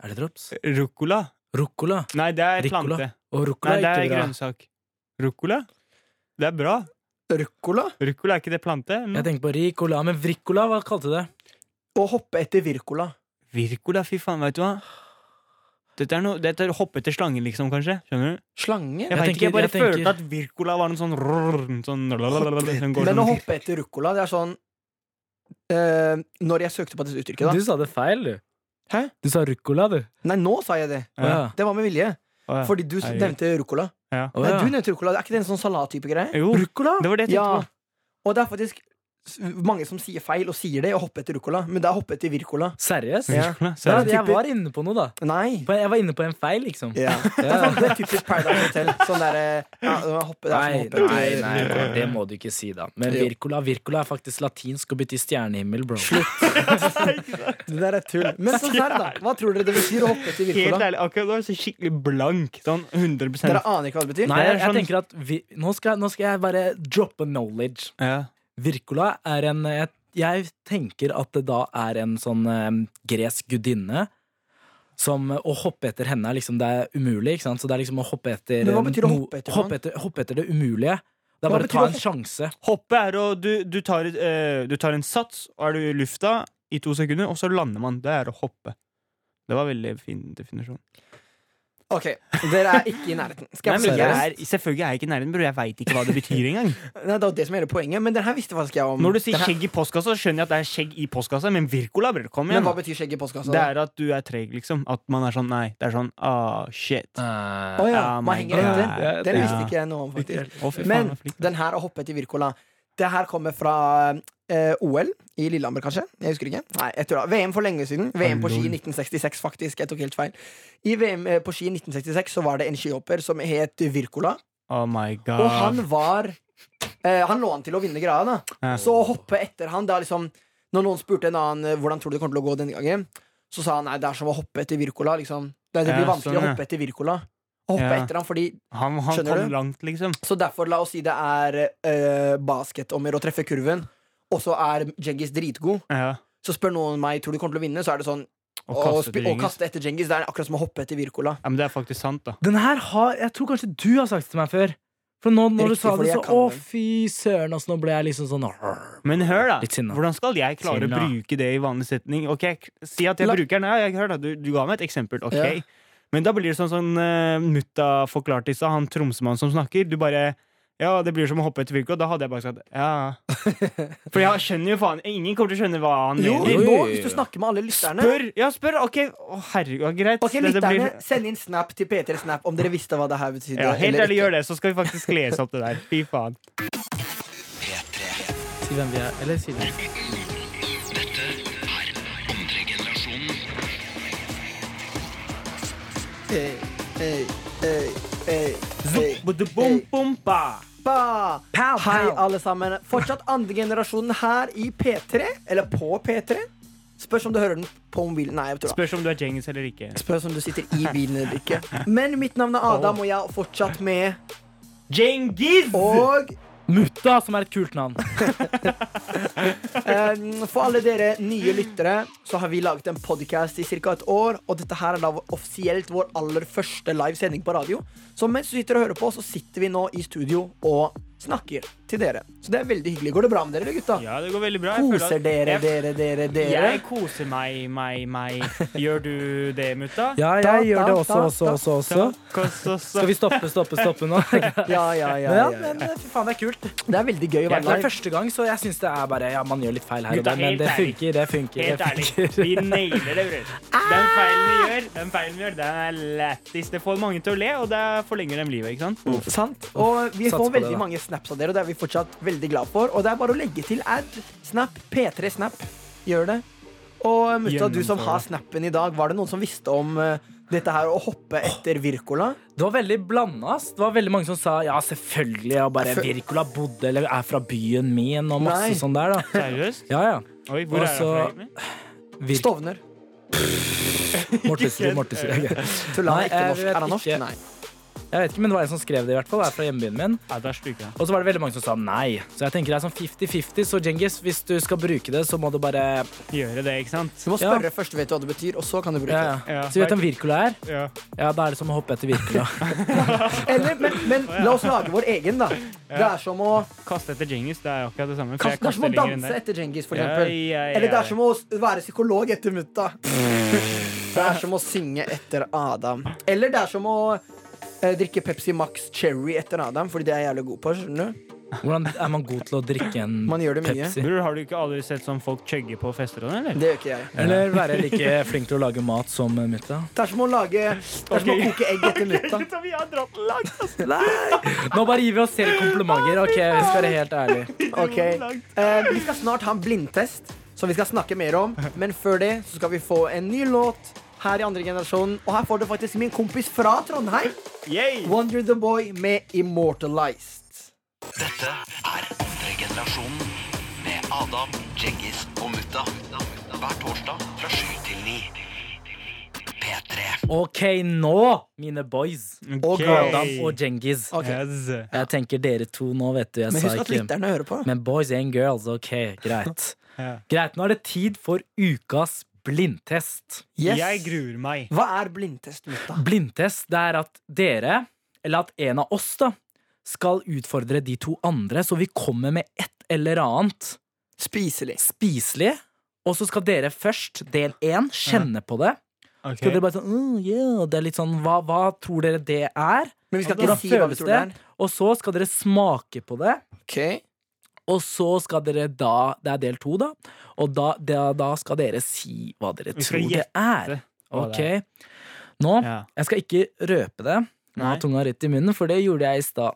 D: Er det drops?
B: Ruccola?
D: Ruccola.
B: Nei, det er
D: Ricola.
B: plante.
D: Og ruccola
B: Nei, det
D: er
B: er
D: ikke bra.
B: grønnsak. Ruccola? Det er bra.
C: Ruccola?
B: Ruccola, er ikke det plante? eller noe?
D: Jeg tenker på Ricola, men Vricola, hva kalte du det?
C: Å hoppe etter Vircola.
B: Virkola, fy faen, vet du hva? Dette er, noe, dette er hopp etter slangen, liksom, kanskje? Skjønner du?
C: Slange?
B: Jeg,
D: Jeg
B: vet
D: tenker-
B: ikke, jeg bare
D: jeg tenker-
B: følte at Virkola var noe sånn rrrr, sånn, lalalala, sånn, går
C: Men å
B: sånn
C: hoppe etter Ruccola, det er sånn eh, Når jeg søkte på dette uttrykket, da
D: Du sa det feil, du.
C: Hæ?
D: Du sa Rucola, du.
C: Nei, nå sa jeg det.
D: Ja.
C: Det var med vilje.
B: Å, ja.
C: Fordi du s-
B: Herregud.
C: nevnte Ruccola.
B: Ja.
D: Å,
C: Nei,
D: ja.
C: du nevnte Ruccola. Er ikke det en sånn salattype greie?
B: Jo,
D: Rucola?
B: det var det jeg
C: Ja.
B: tenkte på.
C: Og det er faktisk s- mange som sier feil og sier det, og hoppe etter Ruccola. Men det er hoppe etter Vircola.
D: Seriøst?
C: Ja.
B: Virkola,
D: Ja,
B: så
C: det er
D: jeg
C: typisk-
D: var inne på noe, da.
C: Nei.
D: På- Jeg var inne på en feil, liksom.
C: Ja. [laughs] Det, er
D: Ja.
C: sånn, det er typisk Paradise Hotel. Sånn derre ja, hoppe, det er
D: Nei,
C: som å hoppe
D: nei,
C: etter
D: nei, bro, det må du ikke si, da. Men
C: Jo.
D: Vircola Vircola er faktisk latinsk og betyr stjernehimmel, bro.
C: Det der er tull. Men sånn her, da. Hva tror dere det betyr å hoppe etter
B: Helt
C: Vircola?
B: ærlig, akkurat nå er jeg så skikkelig blank. Sånn 100
C: Dere aner ikke hva det betyr?
D: Nei, jeg,
B: Det er
D: jeg
B: sånn-
D: tenker at vi, nå, skal, nå skal jeg bare droppe knowledge.
B: ja.
D: Virkola er en jeg, jeg tenker at det da er en sånn eh, gresk gudinne. Som eh, Å hoppe etter henne er liksom Det er umulig, ikke sant? Så det er liksom å hoppe etter
C: Men hva
D: eh,
C: betyr å
D: no-
C: hoppe etter
D: hoppe etter, hoppe etter det umulige.
C: Hva
D: Det er bare
C: betyr
D: å
C: å
D: ta en
C: hoppe-
D: sjanse.
B: Hoppet er å du, du, tar, et, eh, du tar en sats, og er du i lufta i to sekunder, og så lander man. Det er å hoppe. Det var veldig fin definisjon.
C: Ok, dere er ikke i nærheten. Skal
B: Nei,
C: jeg
B: men
C: fortelle
B: jeg er, selvfølgelig er jeg ikke i nærheten, bror. Jeg veit ikke hva det betyr engang.
C: dere? Nei, det er jo det som er hele poenget, men den her visste faktisk jeg om.
B: Når du sier
C: Den her-
B: skjegg i postkassa, så skjønner jeg at det er skjegg i postkassa, men Virkola, bror, kom
C: Men
B: igjen.
C: hva betyr skjegg i postkassa?
B: Det
C: da?
B: er at du er treg, liksom. At man er sånn nei. Det er sånn ah, shit. Å,
C: Å ja,
B: Ah,
C: man
B: my
C: henger etter.
B: God.
C: Den
B: Ja.
C: visste ikke jeg noe om, faktisk.
B: fy faen,
C: Men
B: jeg er flink.
C: den her har hoppet i Virkola. Det her kommer fra eh, OL i Lillehammer, kanskje? Jeg husker ikke. Nei, jeg tror det. VM for lenge siden. VM på ski i 1966, faktisk. Jeg tok helt feil. I VM eh, på ski i 1966 så var det en skihopper som het Virkola,
B: Oh my god.
C: og han var eh, Han lå an til å vinne greia, da.
B: Ja.
C: Så å hoppe etter han det er liksom, Når noen spurte en annen eh, hvordan tror du det kommer til å gå denne gangen, så sa han nei, det er som å hoppe etter Virkola. Liksom. Det, det blir
B: Ja,
C: vanskelig
B: sånn,
C: å
B: ja.
C: hoppe etter Virkola. Å hoppe
B: Ja.
C: etter han, fordi,
B: han, han
C: Skjønner
B: kom
C: du?
B: langt, liksom.
C: så derfor, la oss si det er eh, basketommer å treffe kurven, og så er Djengis dritgod.
B: Ja.
C: Så spør noen meg tror du kommer til å vinne, så er det sånn
B: Og
C: å
B: kaste
C: spi-
B: til
C: å kaste etter Djengis. Det er akkurat som å hoppe etter Virkola.
B: Ja, men det er faktisk sant, da.
D: Den her har Jeg tror kanskje du har sagt det til meg før. For nå når
C: Riktig,
D: du sa
C: fordi
D: det, så
C: jeg kan
D: Å,
C: den.
D: fy søren, altså. Nå ble jeg liksom sånn «Arr».
B: Men hør, da.
D: Litt sinna.
B: Hvordan skal jeg klare
D: Sinna.
B: å bruke det i vanlig setning? Ok, k- Si at jeg
C: La-
B: bruker den. Ja, jeg, hør da, du, du ga meg et eksempel. Ok.
C: Ja.
B: Men da blir det sånn som mutta forklarte i stad, han tromsemannen som snakker. Du bare Ja, det blir som å hoppe etter Virkola. Da hadde jeg bare sagt
C: [laughs]
B: ja. For jeg skjønner jo faen Ingen kommer til å skjønne hva han
C: Jo,
B: mener.
D: jo,
C: nå,
D: jo, jo.
C: hvis du snakker med alle lytterne
B: Spør! Ja, spør! Ok, å, herregud, ja, greit.
C: Ok,
B: Det- det blir-
C: lytterne, Send inn snap til P3 Snap om dere visste hva det her betydde.
B: Ja, helt ærlig,
C: ikke.
B: gjør det, så skal vi faktisk lese opp det der. Fy faen.
A: P3.
D: Si hvem vi er. Eller si det.
A: Dette er andre generasjonen.
C: Ey, ey, ey, ey, ey.
B: Bom-bom-ba.
C: Ba!
D: Pow,
C: Hei,
D: pow.
C: alle sammen. Fortsatt andregenerasjonen her i P3. Eller på P3. Spørs om du hører den på mobilen. Nei, jeg tror det.
B: Spørs om du er Djengis eller ikke.
C: Spørs om du sitter i bilen eller
D: [laughs]
C: ikke. Men mitt navn er Adam, og jeg er fortsatt med
B: Djengis!
C: Og
D: Mutta, som er et kult navn.
C: eh, for alle dere nye lyttere, så har vi laget en podkast i ca. et år. Og dette her er da vår- offisielt vår aller første live sending på radio. Så mens du sitter og hører på, så sitter vi nå i studio og snakker til dere. Så det er veldig hyggelig. Går det bra med dere, gutta?
B: Ja, det går veldig bra. Jeg føler at-
C: Koser dere, dere, dere, dere?
B: Jeg koser meg, meg, meg. Gjør du det, mutta?
D: [laughs] Ja,
C: Da,
D: jeg gjør
C: da,
D: det også,
C: da,
D: også,
C: da.
D: også, også. Skal vi stoppe, stoppe, stoppe nå?
C: Ja, ja, ja,
D: [laughs] Ja,
C: ja, ja.
D: men eh, fy faen, det er kult.
C: Det er veldig gøy å
D: Det
C: være
D: er
C: live.
D: første gang, så jeg syns det er bare Ja, man gjør litt feil her og
B: Gutta,
D: der, men
B: helt
D: det
B: ærlig.
D: funker, det funker.
B: Helt
D: Det [laughs] Ah.
B: ærlig,
D: funker.
B: vi nailer det, bror. Den feilen vi gjør, den feilen vi gjør, den er lættis. Det får mange til å le, og det forlenger dem livet, ikke sant?
C: Sant. Og vi
D: Sats
C: får
D: på det,
C: veldig
D: da.
C: mange snaps av dere, og det er vi fortsatt veldig glad for. Og det er bare å legge til ad. Snap. P3 Snap. Gjør det. Og Mutta, du som
B: Gjennomfør
C: har
B: det.
C: snappen i dag, var det noen som visste om eh, dette her å hoppe etter Virkola?
D: Det var veldig blanda. ass. Det var veldig mange som sa ja, selvfølgelig, og bare
C: Jeg føl-
D: Wirkola bodde eller er fra byen min, og masse
C: Nei.
D: sånn der, da.
B: [laughs] Seriøst?
D: Ja, ja.
B: Oi, hvor
D: Og
B: er han
D: så-
B: fra egentlig?
D: Virk...
C: Stovner.
D: Mortensrud, Mortensrud. ok.
C: Tulla
D: Nei,
C: er ikke
D: jeg
C: norsk.
D: vet
C: Er han norsk?
D: ikke.
C: Nei.
D: Eh, [laughs] Jeg vet ikke, men det var en som skrev det, i hvert fall. Det er fra hjembyen min.
B: Ja, det er stykke.
D: Og så var det veldig mange som sa nei. Så jeg tenker det er sånn 50-50. Så Djengis, hvis du skal bruke det, så må du bare
B: Gjøre det, ikke sant?
C: Du må
D: Ja.
C: spørre først, vet du hva det betyr, og så kan du bruke
D: ja,
C: det.
D: ja.
B: Ja,
D: Så vet du hvem Wirkola er?
B: Ja.
D: Ja, da er det som å hoppe etter Wirkola. [laughs]
C: Eller, men, men la oss lage vår egen, da. Det er som å,
B: Kaste etter Djengis, det er jo akkurat det samme. for
C: det
B: jeg
C: er som å
B: kaster lenger enn
C: danse
B: deg.
C: etter Djengis, for
B: Ja,
C: eksempel.
B: ja, ja,
C: Eller det
B: ja.
C: er som å s- være psykolog etter
B: [laughs]
C: mutta. Det er som å synge etter Adam. Eller det er som å eh, drikke Pepsi Max Cherry etter Adam, fordi det er jeg jævlig god på. skjønner du?
D: Hvordan er man god til å drikke en
C: Man gjør det mye.
D: Pepsi?
B: Bror, har du ikke aldri sett sånn folk chugge på fester og sånn, eller?
C: Det gjør ikke jeg.
D: Eller [laughs] være like flink til å lage mat som mutta?
C: Det er som å lage Det er som å
B: [laughs] Ok.
C: koke egg etter mutta.
B: Gutta, vi har dratt langt, ass.
D: Nå bare gir vi oss selv komplimenter. Ok, vi skal være helt ærlige.
C: Ok, Eh, Vi skal snart ha en blindtest, som vi skal snakke mer
B: [laughs]
C: om. Men før det så skal vi få en ny låt her i andre generasjon. Og her får du faktisk min kompis fra Trondheim,
B: Yay!
C: Wonder the Boy, med Immortalized.
A: Dette er andre generasjonen med Adam, Djengis og Mutta. Hver torsdag fra 7 til 9. P3.
D: Ok, nå, mine boys.
C: Og
D: Adam og Djengis.
C: Ok,
B: Yes.
D: Jeg tenker dere to nå, vet du. Jeg
C: Men
D: sa
C: husk at
D: ikke
C: lytterne hører på.
D: Men boys and girls, ok, greit.
B: Ja.
D: Greit, nå er det tid for ukas blindtest.
C: Yes.
B: Jeg gruer meg.
C: Hva er blindtest, mutta?
D: Blindtest, det er at dere, eller at en av oss, da, skal utfordre de to andre, så vi kommer med et eller annet
C: Spiselig.
D: spiselig. Og så skal dere først, del én, kjenne på det. Skal dere bare sånn, «Åh, ja», det er litt sånn, hva, hva tror dere det er?
C: Men vi skal ikke
D: Hvordan
C: si hva vi
D: føles
C: tror det er.
D: det? Og så skal dere smake på det.
C: Ok,
D: Og så skal dere da Det er del to, da. Og da, da, da skal dere si hva dere
B: Vi skal
D: tror det er.
B: hva
D: Ok.
B: det
D: Nå
B: Ja.
D: Jeg skal ikke røpe det. Nå har
B: Nei.
D: tunga rett i munnen, for det gjorde jeg i stad.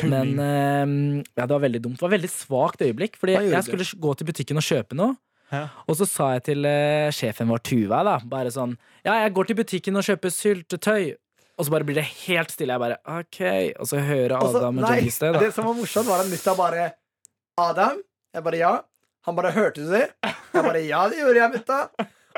D: Men
B: Tulling.
D: eh, ja, det var veldig dumt. Det var veldig svakt øyeblikk. Fordi
C: Hva gjorde
D: jeg skulle gå til butikken og kjøpe noe.
B: Ja.
D: Og så sa jeg til eh, sjefen vår, Tuva, da, bare sånn Ja, jeg går til butikken og kjøper syltetøy. Og så bare blir det helt stille. Jeg bare OK. Og så hører
C: Og så-
D: Adam og
C: nei,
D: Jengis det, da.
C: Det som var morsomt, var at mutta bare Adam? Jeg bare ja. Han bare hørte du det? Jeg bare ja, det gjorde jeg, mutta.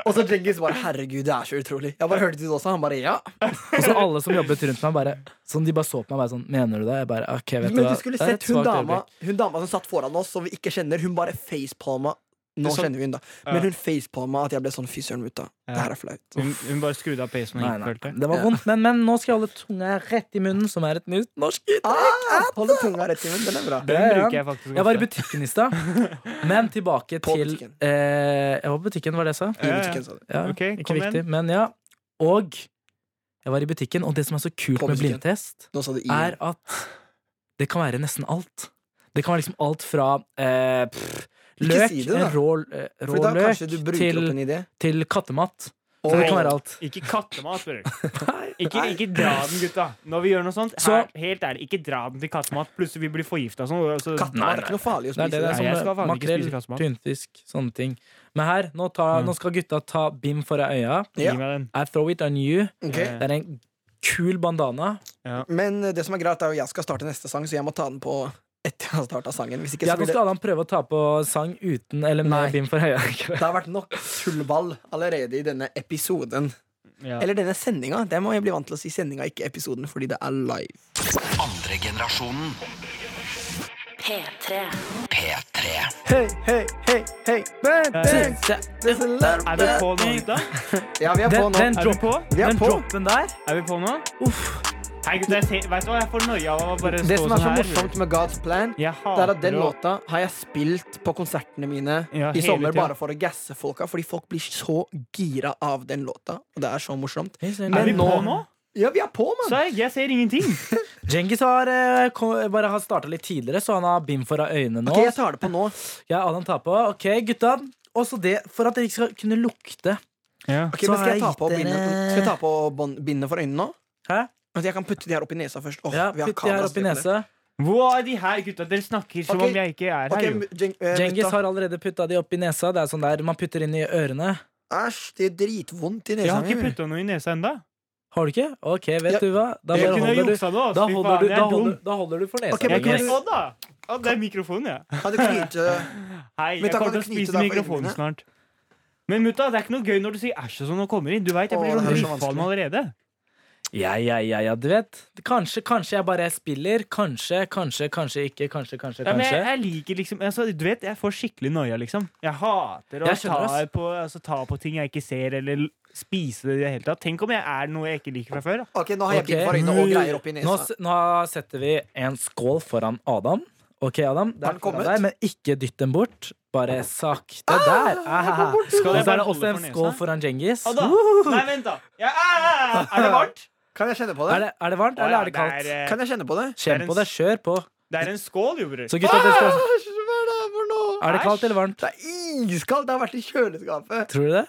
C: Og så Djengis bare herregud, det er så utrolig. Jeg bare hørte du det også? Han bare ja.
D: Og så alle som jobbet rundt meg, bare sånn, de bare så på meg bare sånn Mener du det? Jeg bare, ok, vet
C: Men
D: hva,
C: du skulle
D: det er
C: sett
D: et
C: hun
D: svakt
C: dama,
D: øyeblikk.
C: hun dama som satt foran oss, som vi ikke kjenner. Hun bare facepalma. Nå
B: Det er sånn-
C: kjenner vi hun da. Men hun facepalma at jeg ble sånn fy søren, mutta. Det her er flaut.
B: Hun, hun bare skrudde av pacen og
D: Nei,
B: gikk,
D: nei,
B: følte jeg.
D: det var
C: Ja.
D: vondt, men, men nå skal jeg holde tunga rett i munnen, som er et nytt norsk uttrykk.
C: Ah, Holde tunga rett i munnen. Den er bra.
B: Den
D: Ja, ja.
B: bruker jeg faktisk
D: Jeg var i
B: ofte.
D: butikken i stad, men tilbake
C: På
D: til
C: butikken.
D: eh, Jeg var på butikken, var det jeg
C: I
D: sa?
B: Ja, ja.
C: butikken, sa du.
D: Ja,
B: Ok,
D: ikke
B: kom igjen.
D: viktig, men ja. Og jeg var i butikken, og det som er så kult
C: På
D: med
C: butikken.
D: blindtest,
C: Nå sa du i.
D: er at det kan være nesten alt. Det kan være liksom alt fra eh, pff,
C: Ikke
D: løk,
C: si det, da.
D: en rå, eh,
C: For
D: rå
C: da kanskje du
D: løk,
C: bruker
D: til,
C: opp en idé.
D: til kattemat. Så
C: Oi.
D: det kan være alt.
B: Ikke kattemat, bror.
D: [laughs]
B: Ikke, ikke dra den, gutta. Når vi gjør noe sånt,
D: Så-
B: her, helt ærlig, ikke dra den til kattemat. Plutselig vi blir forgifta sånn. og så-
C: Katten
D: Nei,
C: er
D: nei.
C: ikke noe farlig å
D: Det er det,
C: spise. liksom.
B: Nei,
D: det er
C: det.
D: sånn
B: jeg skal faen ikke
D: makrell,
B: spise kassemat.
D: tunfisk, sånne ting. Men her, nå, tar,
C: Mm.
D: nå skal gutta ta bim for øya.
B: Gi meg den.
D: I throw it on you.
C: Ok.
D: Det er en kul bandana.
C: Men eh, det som er greit, er jo jeg skal starte neste sang, så jeg må ta den på etter jeg har starta sangen. Hvis ikke
D: Ja,
C: så
D: nå
C: blir
D: skal
C: det
D: Adam prøve å ta på sang uten eller med
C: Nei.
D: bim
C: [laughs]
D: for øya.
C: det har vært nok tullball allerede i denne episoden.
B: Ja.
C: Eller denne sendinga. Det må jeg bli vant til å si sendinga, ikke episoden, fordi det er live.
A: Andre generasjonen
E: P3.
A: P3.
C: Hey, hey, hey, hey, man, man, there's a lot of
B: Er vi på
C: that.
B: nå, gutta?
C: Ja, vi er på
D: Den, den,
C: nå.
B: Er vi
D: drop,
B: på?
C: Vi er
D: den
C: på.
D: droppen der
B: Er vi på nå? Hei, gutta, jeg ser, vet du hva? Jeg får noia av å bare stå
C: Det som er så
B: sånn her.
C: morsomt med God's Plan,
B: Jeg
C: det er
B: hater
C: at den
B: å-
C: låta har jeg spilt på konsertene mine
B: Ja,
C: i
B: hele
C: sommer
B: tida.
C: bare for å gasse folka, fordi folk blir så gira av den låta. Og det er så morsomt.
B: Er vi
C: Men
B: på
C: nå-
B: nå?
C: Ja, vi er på, mann!
B: Serg, jeg ser ingenting.
D: Djengis har eh, kom, bare har starta litt tidligere, så han har bim for øynene nå.
C: Ok, jeg tar det på nå.
D: Ja, Adam tar på. Ok, gutta. Også det, for at dere ikke skal kunne lukte.
C: Ok,
D: Så
C: men skal
D: har
C: jeg ta
D: jeg
C: på
D: gitt
C: bindet,
D: dere-
C: skal jeg ta på bånd- bindet for øynene nå?
D: Hæ?
C: Altså, jeg kan putte de her opp i nesa først. Åh,
D: Ja,
C: vi har
D: Putt de her
C: kamera,
D: opp i
C: så
D: nesa.
B: Hvor er de her gutta? Dere snakker som
C: Ok.
B: om jeg ikke er
C: vi
B: her.
C: kan-
B: jo.
C: Ok, Jeng- eh,
D: Djengis
C: mutta.
D: har allerede putta de opp i nesa. Det er sånn der man putter inn i ørene.
C: Æsj, det er dritvondt i
B: Jeg
C: nesa
B: har ikke
C: mi.
B: putta noe i nesa ennå.
D: Har du ikke? Ok, vet
C: Ja.
D: du hva? Da
B: Jeg
D: bare
B: kunne
D: holder du,
B: juksa nå. ass.
D: da
B: Fy
D: holder
B: faen,
D: du,
B: jeg
D: da
B: er
D: holder,
B: dum.
D: da holder du for
C: Ok, men
D: nesa.
B: Jeg kunne
C: Yes.
B: Å da! Å, det er mikrofonen, ja.
C: Kan du knyte
B: Hei,
C: Men
B: jeg
C: da kan
B: kommer til å
C: du knyte
B: spise
C: deg for
B: mikrofonen
C: øynene.
B: snart. Men mutta, det er ikke noe gøy når du sier æsj og sånn og kommer inn. Du vet, jeg
C: Å,
B: blir
C: det
B: sånn
C: her er så
B: drittfallen
C: vanskelig.
B: allerede.
D: Ja, ja, ja, ja, du vet. Kanskje, kanskje jeg bare spiller. Kanskje, kanskje, kanskje ikke. Kanskje, kanskje,
B: Ja, men jeg,
D: kanskje.
B: jeg liker liksom altså, Du vet, jeg får skikkelig noia, liksom. Jeg hater å
D: Jeg skjønner,
B: ta
D: ass.
B: på, altså, ta på ting jeg ikke ser, eller l- spise det i det hele tatt. Tenk om jeg er noe jeg ikke liker fra før. Da.
C: Ok, nå har jeg bitt for
D: Ok.
C: øynene og greier oppi
D: Nå,
C: nesa.
D: s- nå setter vi en skål foran Adam. Ok, Adam, det
C: Har
D: er
C: den kommet?
D: foran deg, men ikke dytt den bort. Bare sakte der.
B: Skal
D: Ah, og
B: jeg
D: så er
B: bare
D: det også
B: holde
D: en
B: for
D: skål
B: nesa?
D: foran Djengis.
B: Ada! Nei, vent, Ah, da. Ja, ah, [laughs] er det varmt?
C: Kan jeg kjenne på
D: Er
C: det?
D: det, er det varmt,
B: Å,
D: eller
B: ja,
D: er det kaldt?
B: eh,
C: Kan jeg kjenne på det?
B: det
D: Kjenn
B: er
D: på
B: en
D: det. Kjør på.
B: det er en skål, jo, bror.
D: Så gutta, det skal,
C: Æsj, hva er det her for noe?
D: er det kaldt eller varmt?
C: Det er iskaldt! Det har vært i kjøleskapet.
D: Tror du det?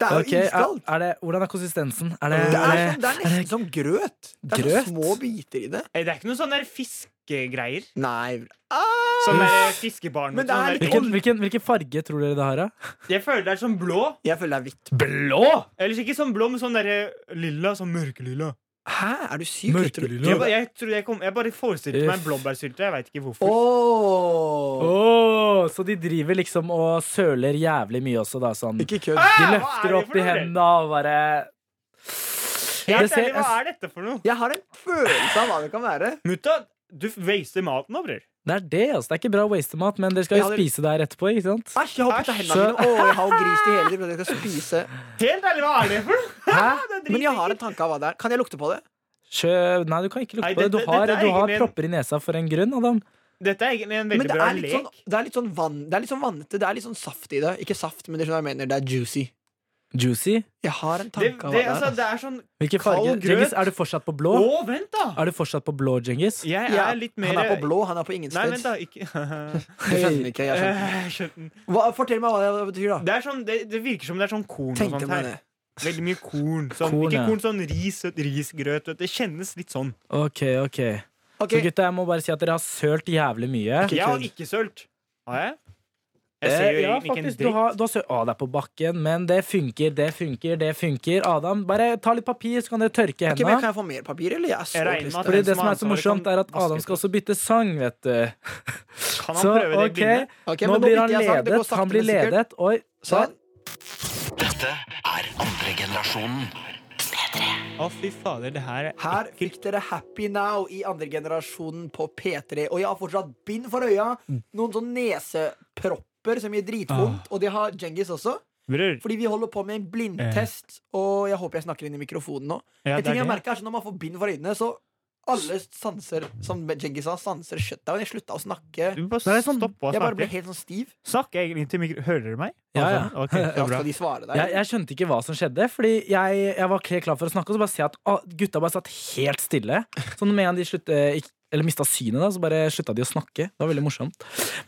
C: Det er jo
D: Ok, er,
C: iskaldt.
D: er det hvordan er konsistensen? Er det,
C: Det er,
D: er det
C: som, det er nesten som grøt. Det er
D: Grøt?
C: så små biter i det.
B: Eh, Det er ikke noe sånn der fiskegreier.
C: Nei ah!
B: Sånn der fiskebarn.
C: Men det er
B: sånn der-
C: litt-
D: hvilken, hvilken, hvilken farge tror dere det har, da?
B: Jeg føler det er sånn blå.
C: Jeg føler det er hvitt.
B: Blå? Ellers ikke sånn blå, men sånn derre lilla. Sånn mørkelilla.
C: Hæ? Er du syk?
D: Mørkelilla.
B: Jeg, ba- jeg, tror jeg, kom, jeg bare forestilte meg en
D: Uff.
B: blåbærsylte. Jeg veit ikke hvorfor.
C: Åh
D: Åh, så de driver liksom og søler jævlig mye også, da. Sånn.
C: Ikke kødd.
D: De
B: Hva er
D: løfter
B: det
D: opp
B: for
D: i
B: noe?
D: hendene og bare
B: Helt
D: Det
B: ærlig,
D: ser-
B: hva er dette for noe?
C: Jeg har en følelse av hva det kan være.
B: Mutta, du waster maten nå, bror.
D: Det er det, altså. Det er ikke bra å waste mat, men dere skal
C: Ja,
D: jo
C: det-
D: spise det her etterpå, ikke sant?
C: Æsj, jeg har hoppet av
D: Æsj.
C: hendene mine. Åh, jeg har jo gris til hele tiden. Jeg skal spise.
B: Helt ærlig, hva er det for noe? [laughs] Det er
C: Men jeg har
B: dritekkelt.
C: en tanke av hva det er. Kan jeg lukte på det?
D: Sjø... Nei, du kan ikke lukte
B: Nei,
D: på det. Du
B: dette-
D: har,
B: dette er
D: du har
B: egentlig en-
D: propper i nesa for en grunn, Adam.
B: Dette er egentlig en
C: Men
B: veldig
C: det
B: bra
C: er litt
B: lek.
C: sånn, det er litt sånn vann Det er litt sånn vannete. Det er litt sånn saft i det. Ikke saft, men det er sånn jeg mener. Det er juicy.
D: Juicy.
C: Jeg har en
B: det,
C: tanke av
B: det,
C: hva
B: altså,
C: det er.
B: det er sånn
D: Hvilken
B: Kald
D: farge?
B: grøt.
D: Djengis, er du fortsatt på blå?
B: Å, vent, da!
D: Er du fortsatt på blå, Djengis?
B: Jeg
C: Ja,
B: er litt mer
C: Han er på blå, han er på ingen
B: Nei, vent,
C: sted.
B: da. Ikke [laughs]
C: Jeg skjønner ikke. Jeg skjønner.
B: Eh, skjønner.
C: Hva, fortell meg hva det betyr, da.
B: Det, er sånn, det, det virker som det er sånn korn og
C: Tenkte
B: sånt
C: meg
B: her.
C: det.
B: Veldig mye korn. Sånn, ikke
D: Korn, ja.
B: korn, sånn ris, risgrøt. Vet du. Det kjennes litt sånn.
D: OK, OK.
C: Ok,
D: Så gutta, jeg må bare si at dere har sølt jævlig mye.
B: Jeg har
C: kødd.
B: ikke sølt. Har jeg? Jeg ser jo
D: Eh, ja,
B: egentlig ikke en
D: faktisk, du
B: dritt.
D: har, du har sø Å, det er på bakken, men det funker, det funker, det funker. Adam, bare ta litt papir, så kan dere tørke
C: ok, men
D: hendene.
C: Kan jeg få mer papir, eller? Jeg er
B: Jeg
C: så
B: regner med at
C: trist.
D: Fordi
B: Den
D: det
B: som
D: som
B: har
D: er så
B: ansvaret
D: morsomt,
B: kan
D: er at
B: vaske
D: Adam
B: ut.
D: skal også bytte sang, vet du.
B: Kan han
D: Så
B: prøve det
D: OK,
B: blinde?
C: Ok,
D: nå
C: men
D: blir han
C: bytter jeg sak, det går
D: ledet.
C: sakte,
D: Han blir
C: men sikkert.
D: ledet. Oi,
C: Sånn.
A: Dette er andre generasjonen.
B: Å, fy fader, det her er
C: Her fikk dere Happy Now i andregenerasjonen på P3. Og jeg har fortsatt bind for øya.
B: Mm.
C: Noen sånn nesepropper som gir dritvondt.
B: Ah.
C: Og det har Djengis også.
B: Bror.
C: Fordi vi holder på med en blindtest. Og jeg håper jeg snakker inn i mikrofonen nå.
B: Eh. Ja,
C: en
B: det
C: ting
B: er
C: jeg
B: det.
C: merker er sånn Når man får bind for øynene, så alle sanser Som Djengis sa, sanser shutdown. Jeg slutta å snakke.
B: Du bare
D: Nei, det er sånn-
B: stopp å
C: Jeg bare ble
B: snakke.
C: helt sånn stiv.
B: Snakk egentlig til mikro... Hører dere meg? Altså,
D: Ja, ja.
B: Ok, det
C: Ja,
B: er bra.
C: skal de svare
D: Jeg,
C: der?
D: jeg skjønte ikke hva som skjedde, Fordi jeg, jeg var helt klar for å snakke, og så bare ser jeg at ah, gutta bare satt helt stille. Så med en gang de slutte, ikk- eller mista synet, da, så bare slutta de å snakke. Det var veldig morsomt.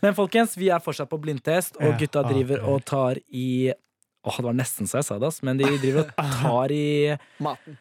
D: Men folkens, vi er fortsatt på blindtest, og
B: Ja,
D: gutta
B: ah,
D: driver
B: ja.
D: og tar i Åh, det var nesten så jeg sa det, ass, men de driver og tar i
C: Maten.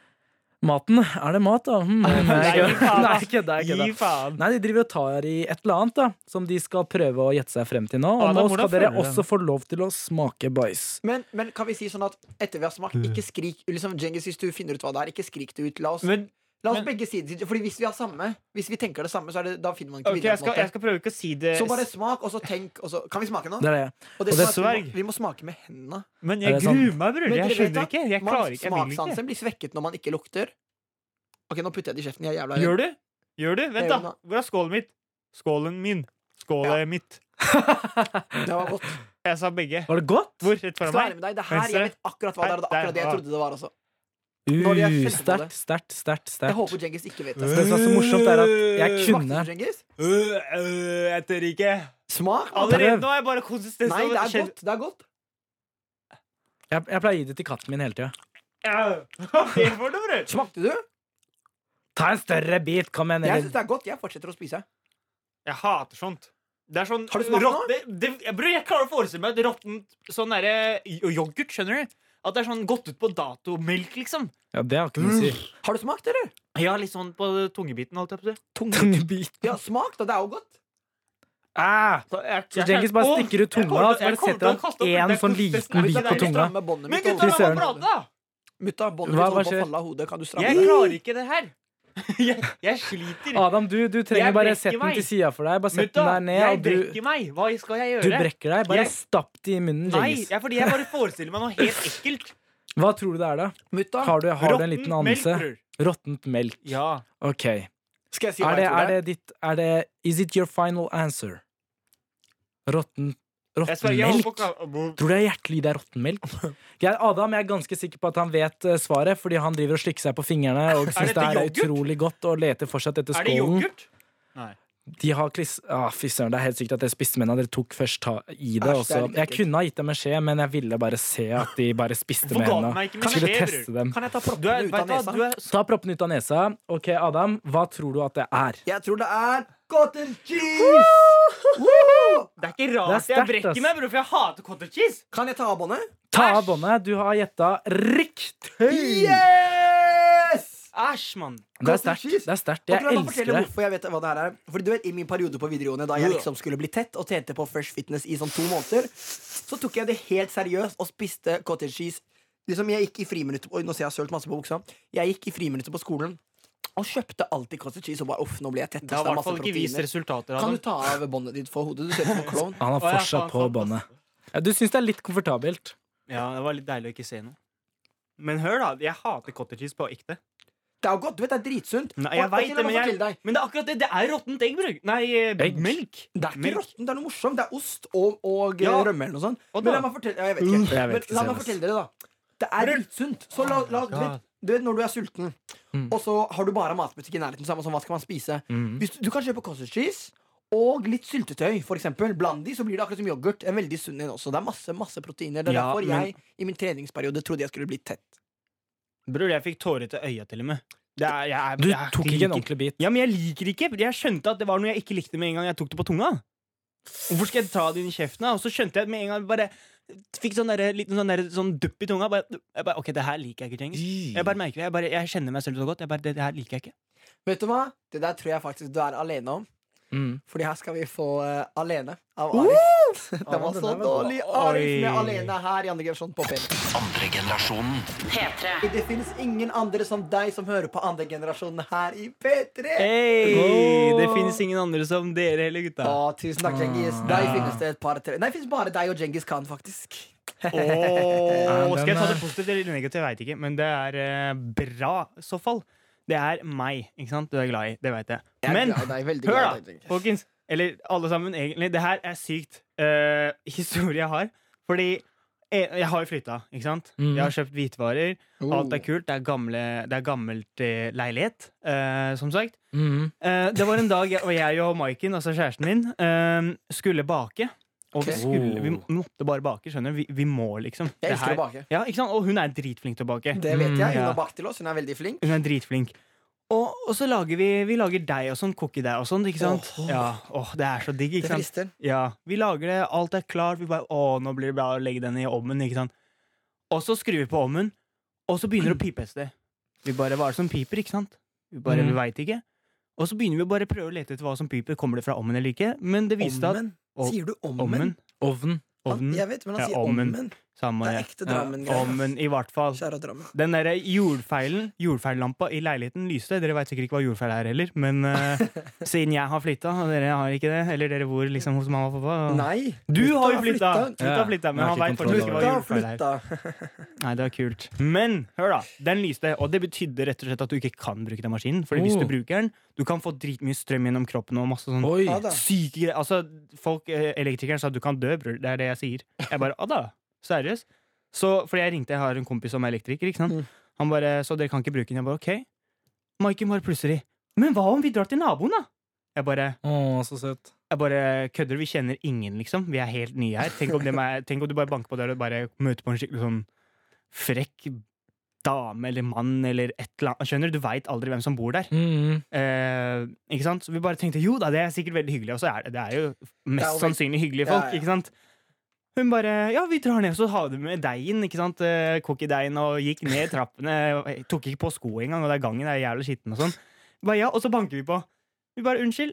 D: maten. Er det mat, da? Hmm,
B: [laughs]
D: nei,
B: Nei,
D: jeg kødder.
B: faen,
D: Nei,
B: ass.
D: jeg kødder, jeg
B: Gi
D: kødder.
B: faen.
D: Nei, de driver og tar i et eller annet, da, som de skal prøve å gjette seg frem til nå. Og
B: Adam,
D: nå
B: Ah, hvordan
D: skal dere
B: føler du
D: også få lov til å smake bæsj.
C: Men, men kan vi si sånn at etter vi har smakt, ikke skrik liksom, Djengis, hvis du finner ut hva det er, ikke skrik det ut. La oss
B: Men
C: La oss
B: Men-
C: begge sider Fordi hvis vi har samme Hvis vi tenker det samme, så er det, da finner man ikke
B: ok,
C: videre. på
B: jeg
C: en
B: skal,
C: måte.
B: jeg skal prøve ikke å si det
C: Så bare smak, og så tenk. Og så, kan vi smake nå?
D: Det er det.
C: og det
B: og
C: som er
B: det
C: at vi,
B: sverg.
C: må, vi må smake med hendene.
B: Men
D: Er
B: jeg
D: det sant?
B: gruer meg, bror.
C: Men dere
B: Jeg
C: vet
B: skjønner
C: at
B: ikke. Jeg
C: man-
B: klarer ikke. Jeg vil ikke.
C: Smakssansen blir svekket når man ikke lukter. Ok, nå putter jeg det i kjeften. Jeg er jævla redd.
B: Gjør du? Gjør du? Vent,
C: gjør den
B: da. Hvor er skålen mitt? Skålen min. Skålet mitt.
C: Det var godt.
B: Jeg sa begge.
D: Var det godt?
B: Hvor? Rett
C: Skal
B: foran
C: være
B: meg?
C: med deg. Det her, jeg vet akkurat hva det er. og Det er akkurat det jeg trodde det var også. Nå vil jeg kjenne
D: Uh,
C: på det.
D: sterkt, sterkt, sterkt.
C: Jeg
D: sterkt.
C: håper Djengis ikke vet
D: Det
C: det. Uh,
D: som er så morsomt, er at jeg
C: Smakte
D: kunne
C: du, Djengis?
B: Øh, øh, jeg tør ikke.
C: Smak?
B: Allerede nå er jeg bare konsistens.
C: Nei,
B: av-
C: det er
B: kjenn-
C: godt. Det er godt.
D: jeg, jeg pleier å gi det til katten min hele tida.
B: Au. [laughs] Hva er det for noe, bror?
C: Smakte du?
D: Ta en større bit, kom igjen.
C: Jeg syns
D: Elin.
C: det er godt. Jeg fortsetter å spise.
B: Jeg hater sånt. Det er sånn
C: Har du smakt
B: rått- det- det- Bror, jeg klarer å forestille meg et råttent sånn derre y- yoghurt, skjønner du? At det er sånn gått ut på datomelk, liksom.
D: Ja, det har ikke noe å si.
B: Mm.
C: Har du smakt, eller?
B: Ja, litt sånn på tungebiten, holdt jeg på å si.
D: Tungebit.
C: Ja, smak, da. Det er jo godt.
D: Ah,
B: Så jeg-
D: så
B: jeg-
D: Jenkins bare
B: Åh,
D: stikker ut
B: jeg kommer
D: tunga,
B: til-
D: og så
B: jeg
D: bare
B: kommer til
D: setter
B: å kaste opp.
D: han én
B: Det er
D: sånn
B: konsistensen.
D: liten
C: Hvis
D: bit
C: det er
D: på
C: litt
D: tunga.
C: stramme båndet
B: Men
C: mitt,
B: gutta,
C: holder-
B: la meg prate, da!
C: Mutta, båndet
D: Hva-
C: mitt
D: hva
C: holder på å
D: skjer?
C: falle av hodet. Kan du stramme
B: Jeg
C: det?
B: klarer ikke det her. [laughs] Jeg, jeg sliter.
D: Adam, du, du trenger
B: Jeg
D: bare
B: brekker
D: sett den
B: meg.
D: til sida for deg. Bare sett
B: Mutta,
D: den der ned,
B: jeg
D: og du,
B: brekker meg. Hva skal jeg gjøre?
D: du brekker deg. Bare
B: Jeg-
D: stapp det i munnen,
B: Nei,
D: Jeggis.
B: jeg, fordi jeg bare forestiller meg noe helt ekkelt.
D: Hva tror du det er, da?
C: Mutta,
D: Har du, har du en liten anelse?
B: melk, bror.
D: Råttent melk.
B: Ja.
D: OK. Er
C: skal jeg si hva
D: det,
C: jeg tror
D: er det ditt Er det Is it your final answer? Råtten
B: Jeg
D: Råtten
B: sverger, jeg holder
D: melk?
B: på å ka-
D: Tror du det er hjertelig det er
B: [laughs]
D: råtten melk? Jeg, Adam jeg er ganske sikker på at han vet eh, svaret, fordi han driver og slikker seg på
B: [laughs]
D: fingrene og syns
B: dette
D: det her er
B: yoghurt?
D: utrolig godt og leter fortsatt etter
B: Er det
D: skålen.
B: yoghurt? Nei.
D: De har kliss... Ah, Fy søren, det er helt sikkert at det spiste mennene dere tok først ta i
C: Æsj,
D: det.
C: det
D: Også.
C: er litt
D: Jeg
C: ekkelt.
D: kunne ha gitt dem en skje, men jeg ville bare se at de bare spiste
B: Hvorfor
D: med
B: ga du meg ikke
D: hendene.
B: med
D: Skulle
B: skje,
D: teste
B: bror?
D: dem.
C: Kan jeg ta
B: Du er,
C: proppene ut
B: vet
C: av
B: du hva,
C: nesa?
B: du er
D: Ta proppen ut av nesa. Ok, Adam, hva tror du at det er?
C: Jeg tror det er cotton cheese! Woohoo!
B: Det er ikke
D: Det er
B: rart jeg
D: sterkt, ass.
B: brekker meg, bror, for jeg hater cottage cheese.
C: Kan jeg ta av båndet?
D: Ta av båndet. Du har gjetta riktig!
C: Yes!
B: Æsj, mann.
D: Det er sterkt. Det er sterkt.
C: Jeg
D: Jeg
C: elsker
D: elsker det.
C: Hvorfor jeg vet hva det her er Fordi du vet, I min periode på videregående, da jeg liksom skulle bli tett og tjente på Fresh Fitness i sånn to måneder, så tok jeg det helt seriøst og spiste cottage cheese. Liksom jeg gikk i friminuttet Oi, nå ser jeg sølt masse på buksa. Jeg gikk i friminuttet på skolen og kjøpte alltid cottage cheese og bare uff, nå ble jeg tett.
B: Det har
C: ass,
B: i
C: er
B: hvert fall
C: masse
B: ikke vist
C: proteiner».
B: resultater av
C: Kan
B: det.
C: du ta av båndet ditt for hodet? Du ser
B: [laughs]
C: ut som en klovn.
D: Han har
B: Å, ja,
D: fortsatt
B: faen,
D: på
B: faen,
D: båndet. Ja, du syns det er litt komfortabelt.
B: Ja, det var litt deilig å ikke se noe. Men hør, da. Jeg hater cottage cheese på ekte.
C: Det er jo godt, du vet, det er dritsunt.
B: Nei,
C: Og-
B: jeg
C: ok,
B: vet
C: la
B: det,
C: meg
B: men, jeg,
C: fortelle deg.
B: men det er akkurat det. Det er råttent egg, bror. Nei, eh,
D: Egg.
B: melk.
C: Det er ikke
B: Melk.
C: råttent, det er noe morsomt. Det er ost og, og eh,
B: Ja.
C: rømme eller noe sånt.
B: Og
C: Men
B: da-
C: la meg fortelle, ja, jeg vet
D: Mm.
C: ikke.
D: Jeg vet ikke,
C: Men la meg
D: Jonas.
C: fortelle dere, da. Det er dritsunt. Så la, la, du, vet, du vet når du er sulten,
D: Mm.
C: og så har du bare matbutikk i nærheten, så er man sånn, hva skal man spise?
D: Mm.
C: Hvis du, du kan kjøpe cottage cheese og litt syltetøy, for eksempel. Bland de, så blir det akkurat som yoghurt. En veldig sunn en også. Det er masse, masse proteiner. Det er
B: Ja,
C: derfor
B: men-
C: jeg i min treningsperiode trodde jeg skulle bli tett.
B: Bror, jeg fikk tårer til øya til og med. Det er, jeg, er-
D: Du
B: jeg
D: tok ikke en
B: liker-
D: ordentlig bit.
B: Ja, men jeg liker ikke. Jeg skjønte at det var noe jeg ikke likte med en gang jeg tok det på tunga. Hvorfor skal jeg ta det inn i kjeften? da? Og så skjønte jeg med en gang bare Fikk sånn derre- liten sånn, derre- sånn dupp i tunga. Bare, jeg bare, ok, det her liker jeg ikke, Cengiz. Jeg bare merker det. Jeg, bare, jeg kjenner meg selv så godt. Jeg bare, det, det her liker jeg ikke.
C: Vet du hva? Det der tror jeg faktisk du er alene om.
D: Mm.
C: Fordi her skal vi få eh, Alene av Arif. [laughs] det var
D: den
C: så
D: der var bra.
C: dårlig. Arif med
B: Oi.
C: Alene her i andre generasjon på P3.
A: Andre generasjonen.
E: P3.
C: Det finnes ingen andre som deg som hører på andre generasjonen her i P3.
B: Hey,
D: Åh.
B: Det finnes ingen andre som dere heller, gutta.
C: Å,
B: [laughs]
C: tusen takk, Djengis.
B: Ah.
C: Deg finnes det et par tre Nei, det finnes bare deg og Djengis Khan, faktisk.
B: Åh,
D: den
B: skal jeg ta
D: er-
B: det positivt eller negativt? Jeg veit ikke. Men det er eh, bra, i så fall. Det er meg, ikke sant? Du er glad i. Det veit jeg.
C: Jeg er
B: Men
C: glad i deg, veldig
B: hør,
C: glad i
B: da,
C: deg.
B: folkens. Eller alle sammen, egentlig. Det her er sykt eh, [laughs] historie jeg har. Fordi jeg, jeg har jo flytta, ikke sant?
D: Mm.
B: Jeg har kjøpt hvitvarer.
C: Oh.
B: Alt er kult. Det er, gamle, det er gammelt eh, leilighet, eh, som sagt.
D: Mm.
B: Eh, det var en dag jeg og jeg og Maiken, altså kjæresten min, eh, skulle bake. Og vi,
C: Ok.
B: skulle, vi
D: Oh.
B: måtte bare bake, skjønner du. Vi, vi må, liksom.
C: Jeg
B: Det her-
C: elsker å bake.
B: Ja, ikke sant? Og hun er dritflink til å bake.
C: Det vet
D: Mm,
C: jeg. Hun
B: ja.
C: har bakt til oss. Hun er veldig flink.
B: Hun er dritflink. Og, og så lager vi, vi lager deig og sånn, cookie deig og sånn, ikke sant?
C: Åh.
B: Ja, åh, det er så digg,
C: Det
B: ikke sant?
C: frister.
B: Ja, Vi lager det, alt er klart, vi bare Å, nå blir det bra å legge den i ovnen, ikke sant? Og så skrur vi på ovnen, og så
C: [clears throat]
B: begynner det å pipe et sted. Vi bare Hva er det som piper, ikke sant? Vi bare,
D: Mm.
B: vi veit ikke. Og så begynner vi å bare prøve å lete etter hva som piper. Kommer det fra ovnen eller ikke? Men det viste at
C: Ommen.
B: Å,
C: Sier du ommen?
B: Ovnen.
D: Ovn.
C: Han,
B: Ovnen.
C: jeg vet, men han
B: Ja,
C: sier
B: ommen.
C: ommen.
B: Samme
C: Det er
B: det.
C: ekte Drammen-greier.
B: Ovnen, i hvert fall.
C: Kjære Drammen.
B: Den derre jordfeilen, jordfeillampa i leiligheten lyste. Dere veit sikkert ikke hva jordfeil er heller, men eh, siden jeg har flytta, og dere har ikke det, eller dere bor liksom hos mamma og pappa
C: Nei.
B: Du
C: Mutta
B: har jo flytta!
C: flytta.
B: Mutta har flytta, men
D: Ja,
B: han veit
D: jeg har ikke
B: fortsatt ikke
D: kontroll
B: hva
C: Mutta
B: jordfeil er.
C: flytta.
B: Nei, det er kult. Men hør, da. Den lyste, og det betydde rett og slett at du ikke kan bruke den maskinen. For hvis
D: Oh.
B: du bruker den, du kan få dritmye strøm gjennom kroppen og masse sånn
D: Oi.
C: Ja da.
B: syke greier. Altså, folk, eh, elektrikeren sa du kan dø, bror. Det er det jeg sier. Jeg bare, «Å da, seriøst? Så, fordi jeg ringte, jeg har en kompis som er elektriker, ikke sant?
C: Mm.
B: Han bare, så dere kan ikke bruke den. Jeg bare, ok. Maiken bare plutselig, men hva om vi drar til naboen da? Jeg bare,
D: Å, så søt.
B: jeg bare kødder, vi kjenner ingen liksom. Vi er helt nye her. Tenk om, dem er, tenk om du bare banker på døra og bare møter på en skikkelig sånn frekk dame eller mann eller et eller annet. Skjønner du, du vet aldri hvem som bor der.
D: Mm.
B: Eh, ikke sant? Så vi bare tenkte jo da, det er sikkert veldig hyggelig. Og så er det, det er jo mest
C: Det er jo veld-
B: sannsynlig hyggelige folk.
C: Ja, ja.
B: Ikke sant? Hun bare Ja, vi drar ned, og så har vi med deigen. ikke sant? Eh, Cookie-deigen, og gikk ned trappene. og jeg Tok ikke på sko engang, og det er gangen er jævlig skitten og sånn. Bare, ja, og så banker vi på. Vi bare unnskyld.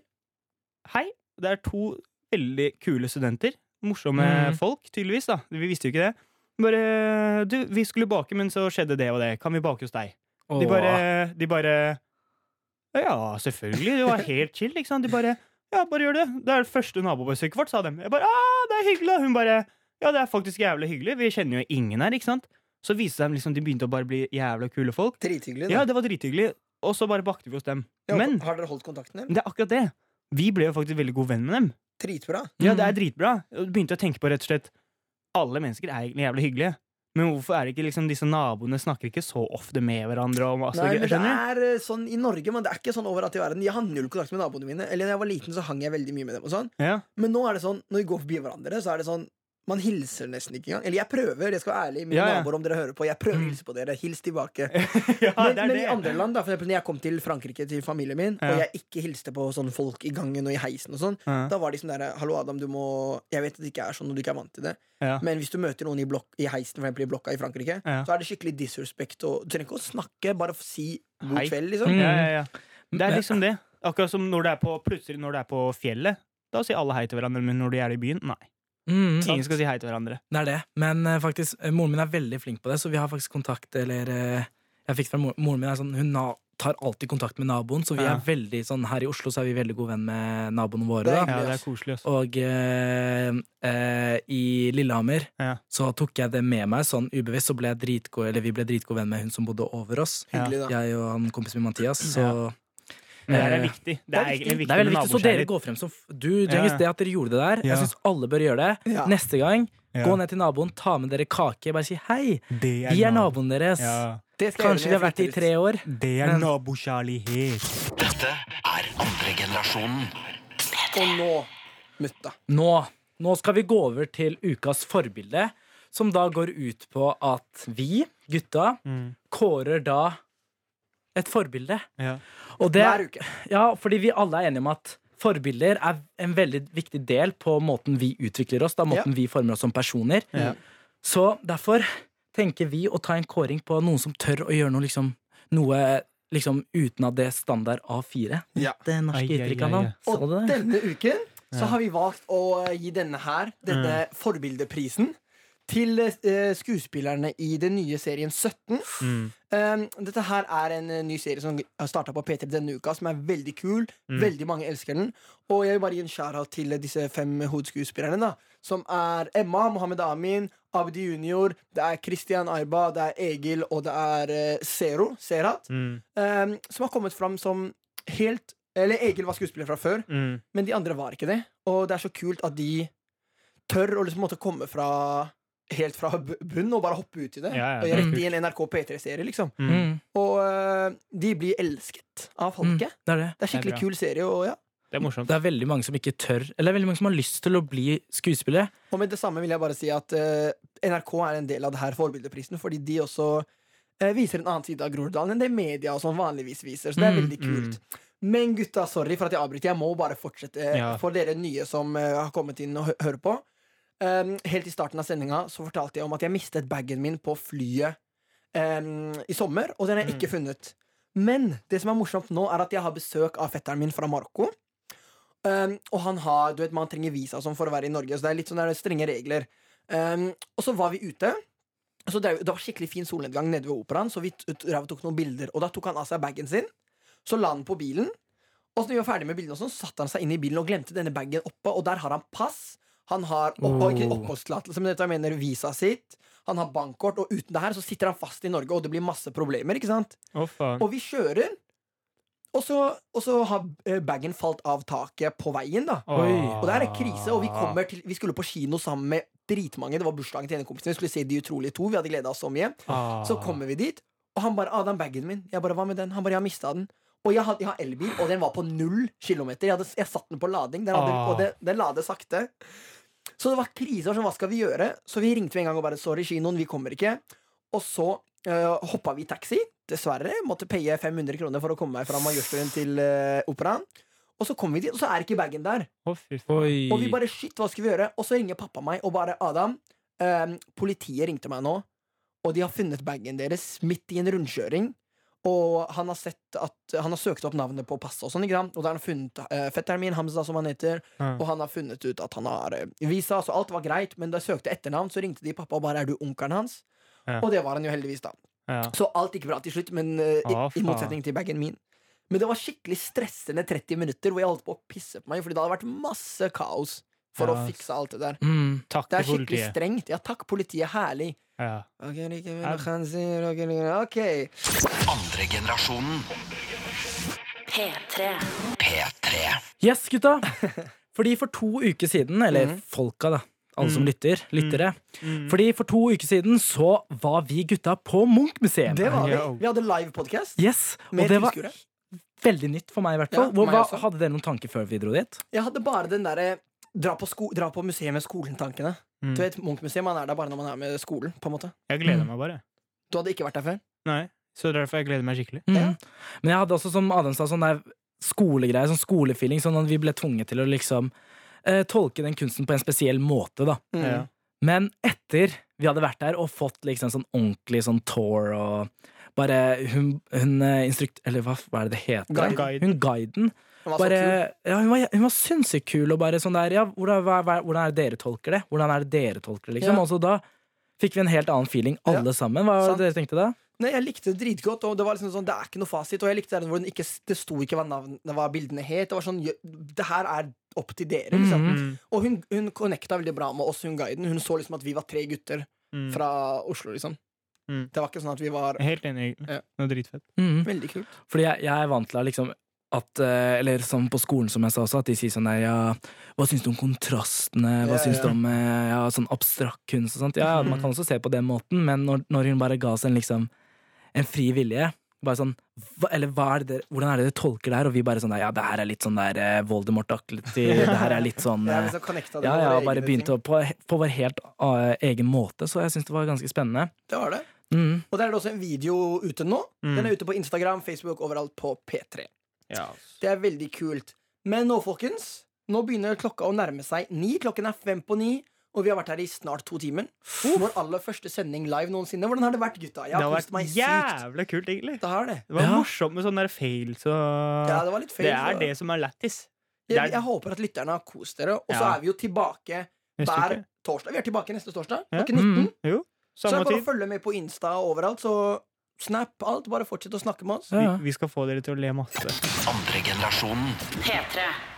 B: Hei. Det er to veldig kule studenter. Morsomme
D: Mhm.
B: folk, tydeligvis. da. Vi visste jo ikke det. Bare Du, vi skulle bake, men så skjedde det og det. Kan vi bake hos deg? De
D: Åh.
B: bare, de bare Ja, selvfølgelig. Det var helt chill. Ikke sant? De bare Ja, bare gjør det. Det er det første nabobesøket vårt, sa de. Jeg bare, ah, det er hyggelig. da. Hun bare Ja, det er faktisk jævlig hyggelig. Vi kjenner jo ingen her, ikke sant? Så viste det seg liksom, de begynte å bare bli jævla kule folk.
C: Drithyggelig. da.
B: Ja, det var drithyggelig. Og så bare bakte vi hos dem.
C: Ja,
B: Men
C: Har dere holdt kontakten deres?
B: det er akkurat det. Vi ble jo faktisk veldig god venn med dem.
C: Dritbra.
B: Ja, det er dritbra. Og Begynte å tenke på rett og slett Alle mennesker er egentlig jævlig hyggelige. Men hvorfor er det ikke liksom disse naboene snakker ikke så ofte med hverandre? Om, altså,
C: Nei, men det
B: skjønner du?
C: er eh, sånn i Norge, men det er ikke sånn overalt i verden. Jeg har null kontakt med naboene mine. Eller da jeg var liten, så hang jeg veldig mye med dem. og sånn
B: Ja.
C: Men nå er det sånn, når vi går forbi hverandre, så er det sånn man hilser nesten ikke engang. Eller jeg prøver, jeg skal være ærlig. Mine
B: Ja, ja.
C: naboer, om dere hører på, jeg prøver å hilse på dere. Hils tilbake.
B: [laughs] ja,
C: men,
B: det er
C: men i
B: det.
C: andre land, da, for eksempel når jeg kom til Frankrike til familien min,
B: Ja.
C: og jeg ikke hilste på sånne folk i gangen og i heisen og sånn,
B: Ja.
C: da var de sånn derre Hallo, Adam, du må Jeg vet at det ikke er sånn når du ikke er vant til det,
B: Ja.
C: men hvis du møter noen i, blokk, i heisen, for eksempel i blokka i Frankrike,
B: Ja.
C: så er det skikkelig disrespect, og du trenger ikke å snakke, bare si god
B: Hei. Mm.
C: kveld, liksom.
B: Ja, ja, ja. Det er liksom det. Akkurat som når det er på, plutselig når det er på fjellet. Da sier alle hei til hverandre, men når de er i byen, nei.
D: Mm,
B: Ingen skal si hei til hverandre.
D: det er det. Men eh, faktisk, eh, moren min er veldig flink på det, så vi har faktisk kontakt Eller eh, jeg fikk det fra mor- moren min er sånn, hun na tar alltid kontakt med naboen, så vi
B: Ja.
D: er veldig sånn her i Oslo så er vi veldig god venn med naboene våre.
C: Det er
B: Ja,
D: da
C: Hyggelig,
B: det er
C: ass.
B: koselig, altså. ass.
D: Og eh, eh, i Lillehammer
B: Ja.
D: så tok jeg det med meg sånn ubevisst, så ble jeg dritgod, eller vi ble dritgode venn med hun som bodde over oss.
C: Hyggelig, da.
D: Jeg og han kompisen min Mathias. Så eh,
B: Ja. Men det her er viktig. Det er egentlig
D: det
B: viktig
D: er veldig
B: med
D: viktig, så dere
B: nabokjærlighet.
D: går frem som f- Du, Djengis,
B: Ja.
D: det at dere gjorde det der,
B: Ja.
D: jeg syns alle bør gjøre det.
C: Ja.
D: Neste gang,
B: Ja.
D: gå ned til naboen, ta med dere kake, bare si hei.
B: Det
D: Vi er naboen deres.
B: Ja.
C: Det skal jeg gjøre når
D: Kanskje de
C: jeg
D: har vært det i
C: flytter ut.
D: tre år.
B: Det er nabokjærlighet.
A: Dette er andre generasjonen.
C: Og nå, mutta.
D: Nå, nå skal vi gå over til ukas forbilde, som da går ut på at vi, gutta,
B: Mm.
D: kårer da et forbilde.
B: Ja.
D: Og det,
C: Hver uke.
D: ja, fordi vi alle er enige om at forbilder er en veldig viktig del på måten vi utvikler oss, da måten vi former oss som personer.
B: Ja.
D: Så derfor tenker vi å ta en kåring på noen som tør å gjøre noe, liksom, noe liksom, uten av det standard A4.
C: Ja.
D: Det
B: Ai,
D: norske
B: ai, ai,
D: uttrykket, Adam.
B: ai.
D: Så
C: Og
D: du det?
C: denne uken så har vi valgt å eh, gi denne her, denne forbildeprisen, til eh, skuespillerne i den nye serien 17.
B: Mm.
C: Um, dette her er en eh, ny serie som har starta på P3 denne uka, som er veldig kul. Veldig mange elsker den. Og jeg vil bare gi en shout-out til eh, disse fem hovedskuespillerne, da. Som er Emma, Mohammed Amin, Abdi Junior, det er Christian Aiba, det er Egil, og det er eh, Zero, Serat.
B: Mm.
C: Um, som har kommet fram som helt Eller Egil var skuespiller fra før,
B: Mm.
C: men de andre var ikke det. Og det er så kult at de tør å liksom måtte komme fra helt fra bu- bunn og bare hoppe ut i det.
B: Ja, ja,
C: og
B: det er
C: rett
D: kult.
C: i en NRK P3-serie, liksom.
B: Mm.
D: Mm.
C: Og øh, de blir elsket av
D: Mm.
C: folket.
D: Det er det.
C: Det er skikkelig
B: Det er bra.
C: kul serie. Og, ja.
B: Det er morsomt.
D: Det er veldig mange som ikke tør Eller det er veldig mange som har lyst til å bli skuespillere.
C: og med det samme vil jeg bare si at øh, NRK er en del av det her forbildeprisen, fordi de også øh, viser en annen side av Groruddalen enn det media og sånn vanligvis viser. Så det er
D: Mm,
C: veldig kult. Men gutta, sorry for at jeg avbryter. Jeg må bare fortsette øh,
B: Ja.
C: for dere nye som øh, har kommet inn og hø hører på. Um, helt i starten av sendinga så fortalte jeg om at jeg mistet bagen min på flyet um, i sommer, og den har jeg ikke funnet. Men det som er morsomt nå, er at jeg har besøk av fetteren min fra Marokko. Um, og han har, du vet, man trenger visa og sånn for å være i Norge, så det er litt sånn der strenge regler. Um, og så var vi ute. Så det, er jo- det var skikkelig fin solnedgang nede ved operaen, så vi t- t- drev og tok noen bilder. Og da tok han av seg bagen sin, så la han på bilen. Og så når vi var ferdig med bildene, og sånn, satte han seg inn i bilen og glemte denne bagen oppe, og der har han pass. Han har opp,
D: Oh.
C: ikke oppholdstillatelse, men dette jeg mener visa sitt. Han har bankkort, og uten det her så sitter han fast i Norge, og det blir masse problemer, ikke sant?
B: Å, faen.
C: Og vi kjører, og så, og så har eh, bagen falt av taket på veien, da.
B: Åh.
C: Og det her er krise, og vi kommer til Vi skulle på kino sammen med dritmange. Det var bursdagen til en kompis. Vi skulle se De utrolige to. Vi hadde gleda oss så mye.
B: Ah.
C: Så kommer vi dit, og han bare 'Adam, bagen min.' Jeg bare 'Hva med den?' Han bare 'Jeg har mista den'. Og jeg, hadde, jeg har elbil, og den var på null kilometer. Jeg, hadde, jeg satt den på lading, den hadde,
B: Ah.
C: og den, den lader sakte. Så det var krise. og sånn, Hva skal vi gjøre? Så vi ringte med en gang og bare 'Sorry, kinoen, vi kommer ikke'. Og så uh, hoppa vi i taxi. Dessverre. Måtte paye 500 kroner for å komme meg fra Majorstuen til eh, operaen. Og så kom vi dit, og så er ikke bagen der.
B: Å, fy faen.
D: Oi.
C: Og vi bare shit, hva skal vi gjøre? Og så ringer pappa meg og bare Adam, ehm, politiet ringte meg nå, og de har funnet bagen deres midt i en rundkjøring. Og han har sett at Han har søkt opp navnet på passet, og sånn, ikke sant? Og da har han funnet eh, fetteren min, Hamza, som han heter,
B: Ja.
C: og han har funnet ut at han har eh, visa, så alt var greit, men da jeg søkte etternavn, så ringte de pappa og bare 'Er du onkelen hans?'
B: Ja.
C: Og det var han jo heldigvis, da.
B: Ja.
C: Så alt gikk bra til slutt, men eh, i,
B: Ah,
C: i
B: faen.
C: motsetning til bagen min. Men det var skikkelig stressende 30 minutter hvor jeg holdt på å pisse på meg, Fordi det hadde vært masse kaos for
B: Ja.
C: å fikse alt det der.
D: Mm.
B: Takk
C: Det er
B: til
C: skikkelig
B: politiet.
C: strengt. Ja takk, politiet. Herlig.
B: Ja.
C: Ok, likevel, han sier, ok, likevel, ok.
A: Andre generasjonen.
E: P3.
A: P3.
C: [laughs]
D: Yes, gutta! Fordi for to uker siden, eller
C: Mm.
D: folka, da. Alle som lytter. Lyttere. Fordi for to uker siden så var vi gutta på Munch-museet.
C: Det var vi.
B: Yo.
C: Vi hadde live podcast
D: Yes, og
C: med
D: det var
C: tilskuere.
D: veldig nytt for meg, i hvert
C: Ja,
D: fall. Hvor-
C: meg
D: hva,
C: også.
D: hadde dere noen tanker før vi dro dit?
C: Jeg hadde bare den derre dra, på sko- dra på museet med skolen-tankene.
B: Mm.
C: Du vet, Munch-museet man er der bare når man er med skolen. på en måte
B: Jeg gleder meg
D: Mm.
B: bare.
C: Du hadde ikke vært der før?
B: Nei, så derfor jeg gleder meg skikkelig.
D: Mm.
C: Ja.
D: Men jeg hadde også, som Adam sa, sånn der skolegreie, sånn skolefeeling, sånn at vi ble tvunget til å liksom eh, tolke den kunsten på en spesiell måte, da.
C: Mm.
B: Ja.
D: Men etter vi hadde vært der og fått liksom sånn ordentlig sånn tour og bare hun, hun eh, instrukt... Eller hva, hva er det det heter?
C: Guide.
B: Guide.
D: Hun guiden.
C: Den var så
D: Bare,
C: kul.
D: ja, hun var, hun var sinnssykt kul og bare sånn der Ja, hvordan, hva, hva, hvordan er det dere tolker det? Hvordan er det dere tolker det, liksom?
C: Ja.
D: Og så da fikk vi en helt annen feeling, alle sammen. Hva var
C: Sant.
D: det dere tenkte da?
C: Nei, Jeg likte det dritgodt, og det var liksom sånn, det er ikke noe fasit. Og jeg likte det hvor den ikke, det sto ikke hva, navn, hva bildene het. Det var sånn, «Jø, det her er opp til dere. Liksom.
D: Mhm.
B: Mm.
C: Og hun, hun connecta veldig bra med oss, hun guiden. Hun så liksom at vi var tre gutter
B: Mm.
C: fra Oslo, liksom.
B: Mm.
C: Det var ikke sånn at vi
D: [laughs]
C: var
B: Helt enig.
C: Ja.
B: Noe dritfett.
D: Mm.
C: Veldig kult.
D: Fordi jeg, jeg er vant til å liksom at, eh, eller som på skolen, som jeg sa også, at de sier sånn der ja, Hva syns du om kontrastene? Hva
C: Ja,
D: syns
C: ja. Mm.
D: du om eh, ja, sånn abstrakt kunst og sånt? Ja,
B: Mhm.
D: man kan også se på den måten, men når, når hun bare ga oss en liksom en fri vilje bare sånn, hva, eller hva er det, dere- Hvordan er det dere tolker det her? Og vi bare sånn der, Ja, det her er litt sånn der eh,
C: [laughs]
D: Voldemort-aktig. Det her er litt sånn
C: Ja,
D: eh,
C: liksom connecta det
D: Ja,
C: med
D: ja,
C: våre
D: og bare
C: egne
D: begynte
C: ting.
D: å, på, på vår helt eh, egen måte, så jeg syns det var ganske spennende.
C: Det var det.
D: Mm.
C: Og der er det også en video ute nå.
B: Mm.
C: Den er ute på Instagram, Facebook, overalt på P3.
B: Ja.
C: Det er veldig kult. Men nå, folkens, nå begynner klokka å nærme seg ni. Klokken er fem på ni, og vi har vært her i snart to timer. Vår aller første sending live noensinne. Hvordan har det vært, gutta? Jeg
B: Det har
C: har
B: vært
C: kost meg sykt.
B: jævla kult, egentlig.
C: Det har det.
B: Det var
D: Ja.
B: morsomt med sånne der fails og
C: Ja, det var litt feil.
B: Det er
C: så-
B: det som er lættis. det er-
C: Jeg, jeg håper at lytterne har kost dere. Og så
B: Ja.
C: er vi jo tilbake
B: Neste
C: hver
B: uke.
C: torsdag. Vi er tilbake neste torsdag
B: Ja.
C: klokken 19.
D: Mm.
B: Jo,
C: Så det
B: samme
C: er bare å
B: tid.
C: følge med på Insta og overalt. Så snap alt. Bare fortsett å snakke med oss.
D: Ja,
B: Vi,
D: ja.
B: vi skal få dere til å le masse.
A: Andre generasjonen.
E: P3.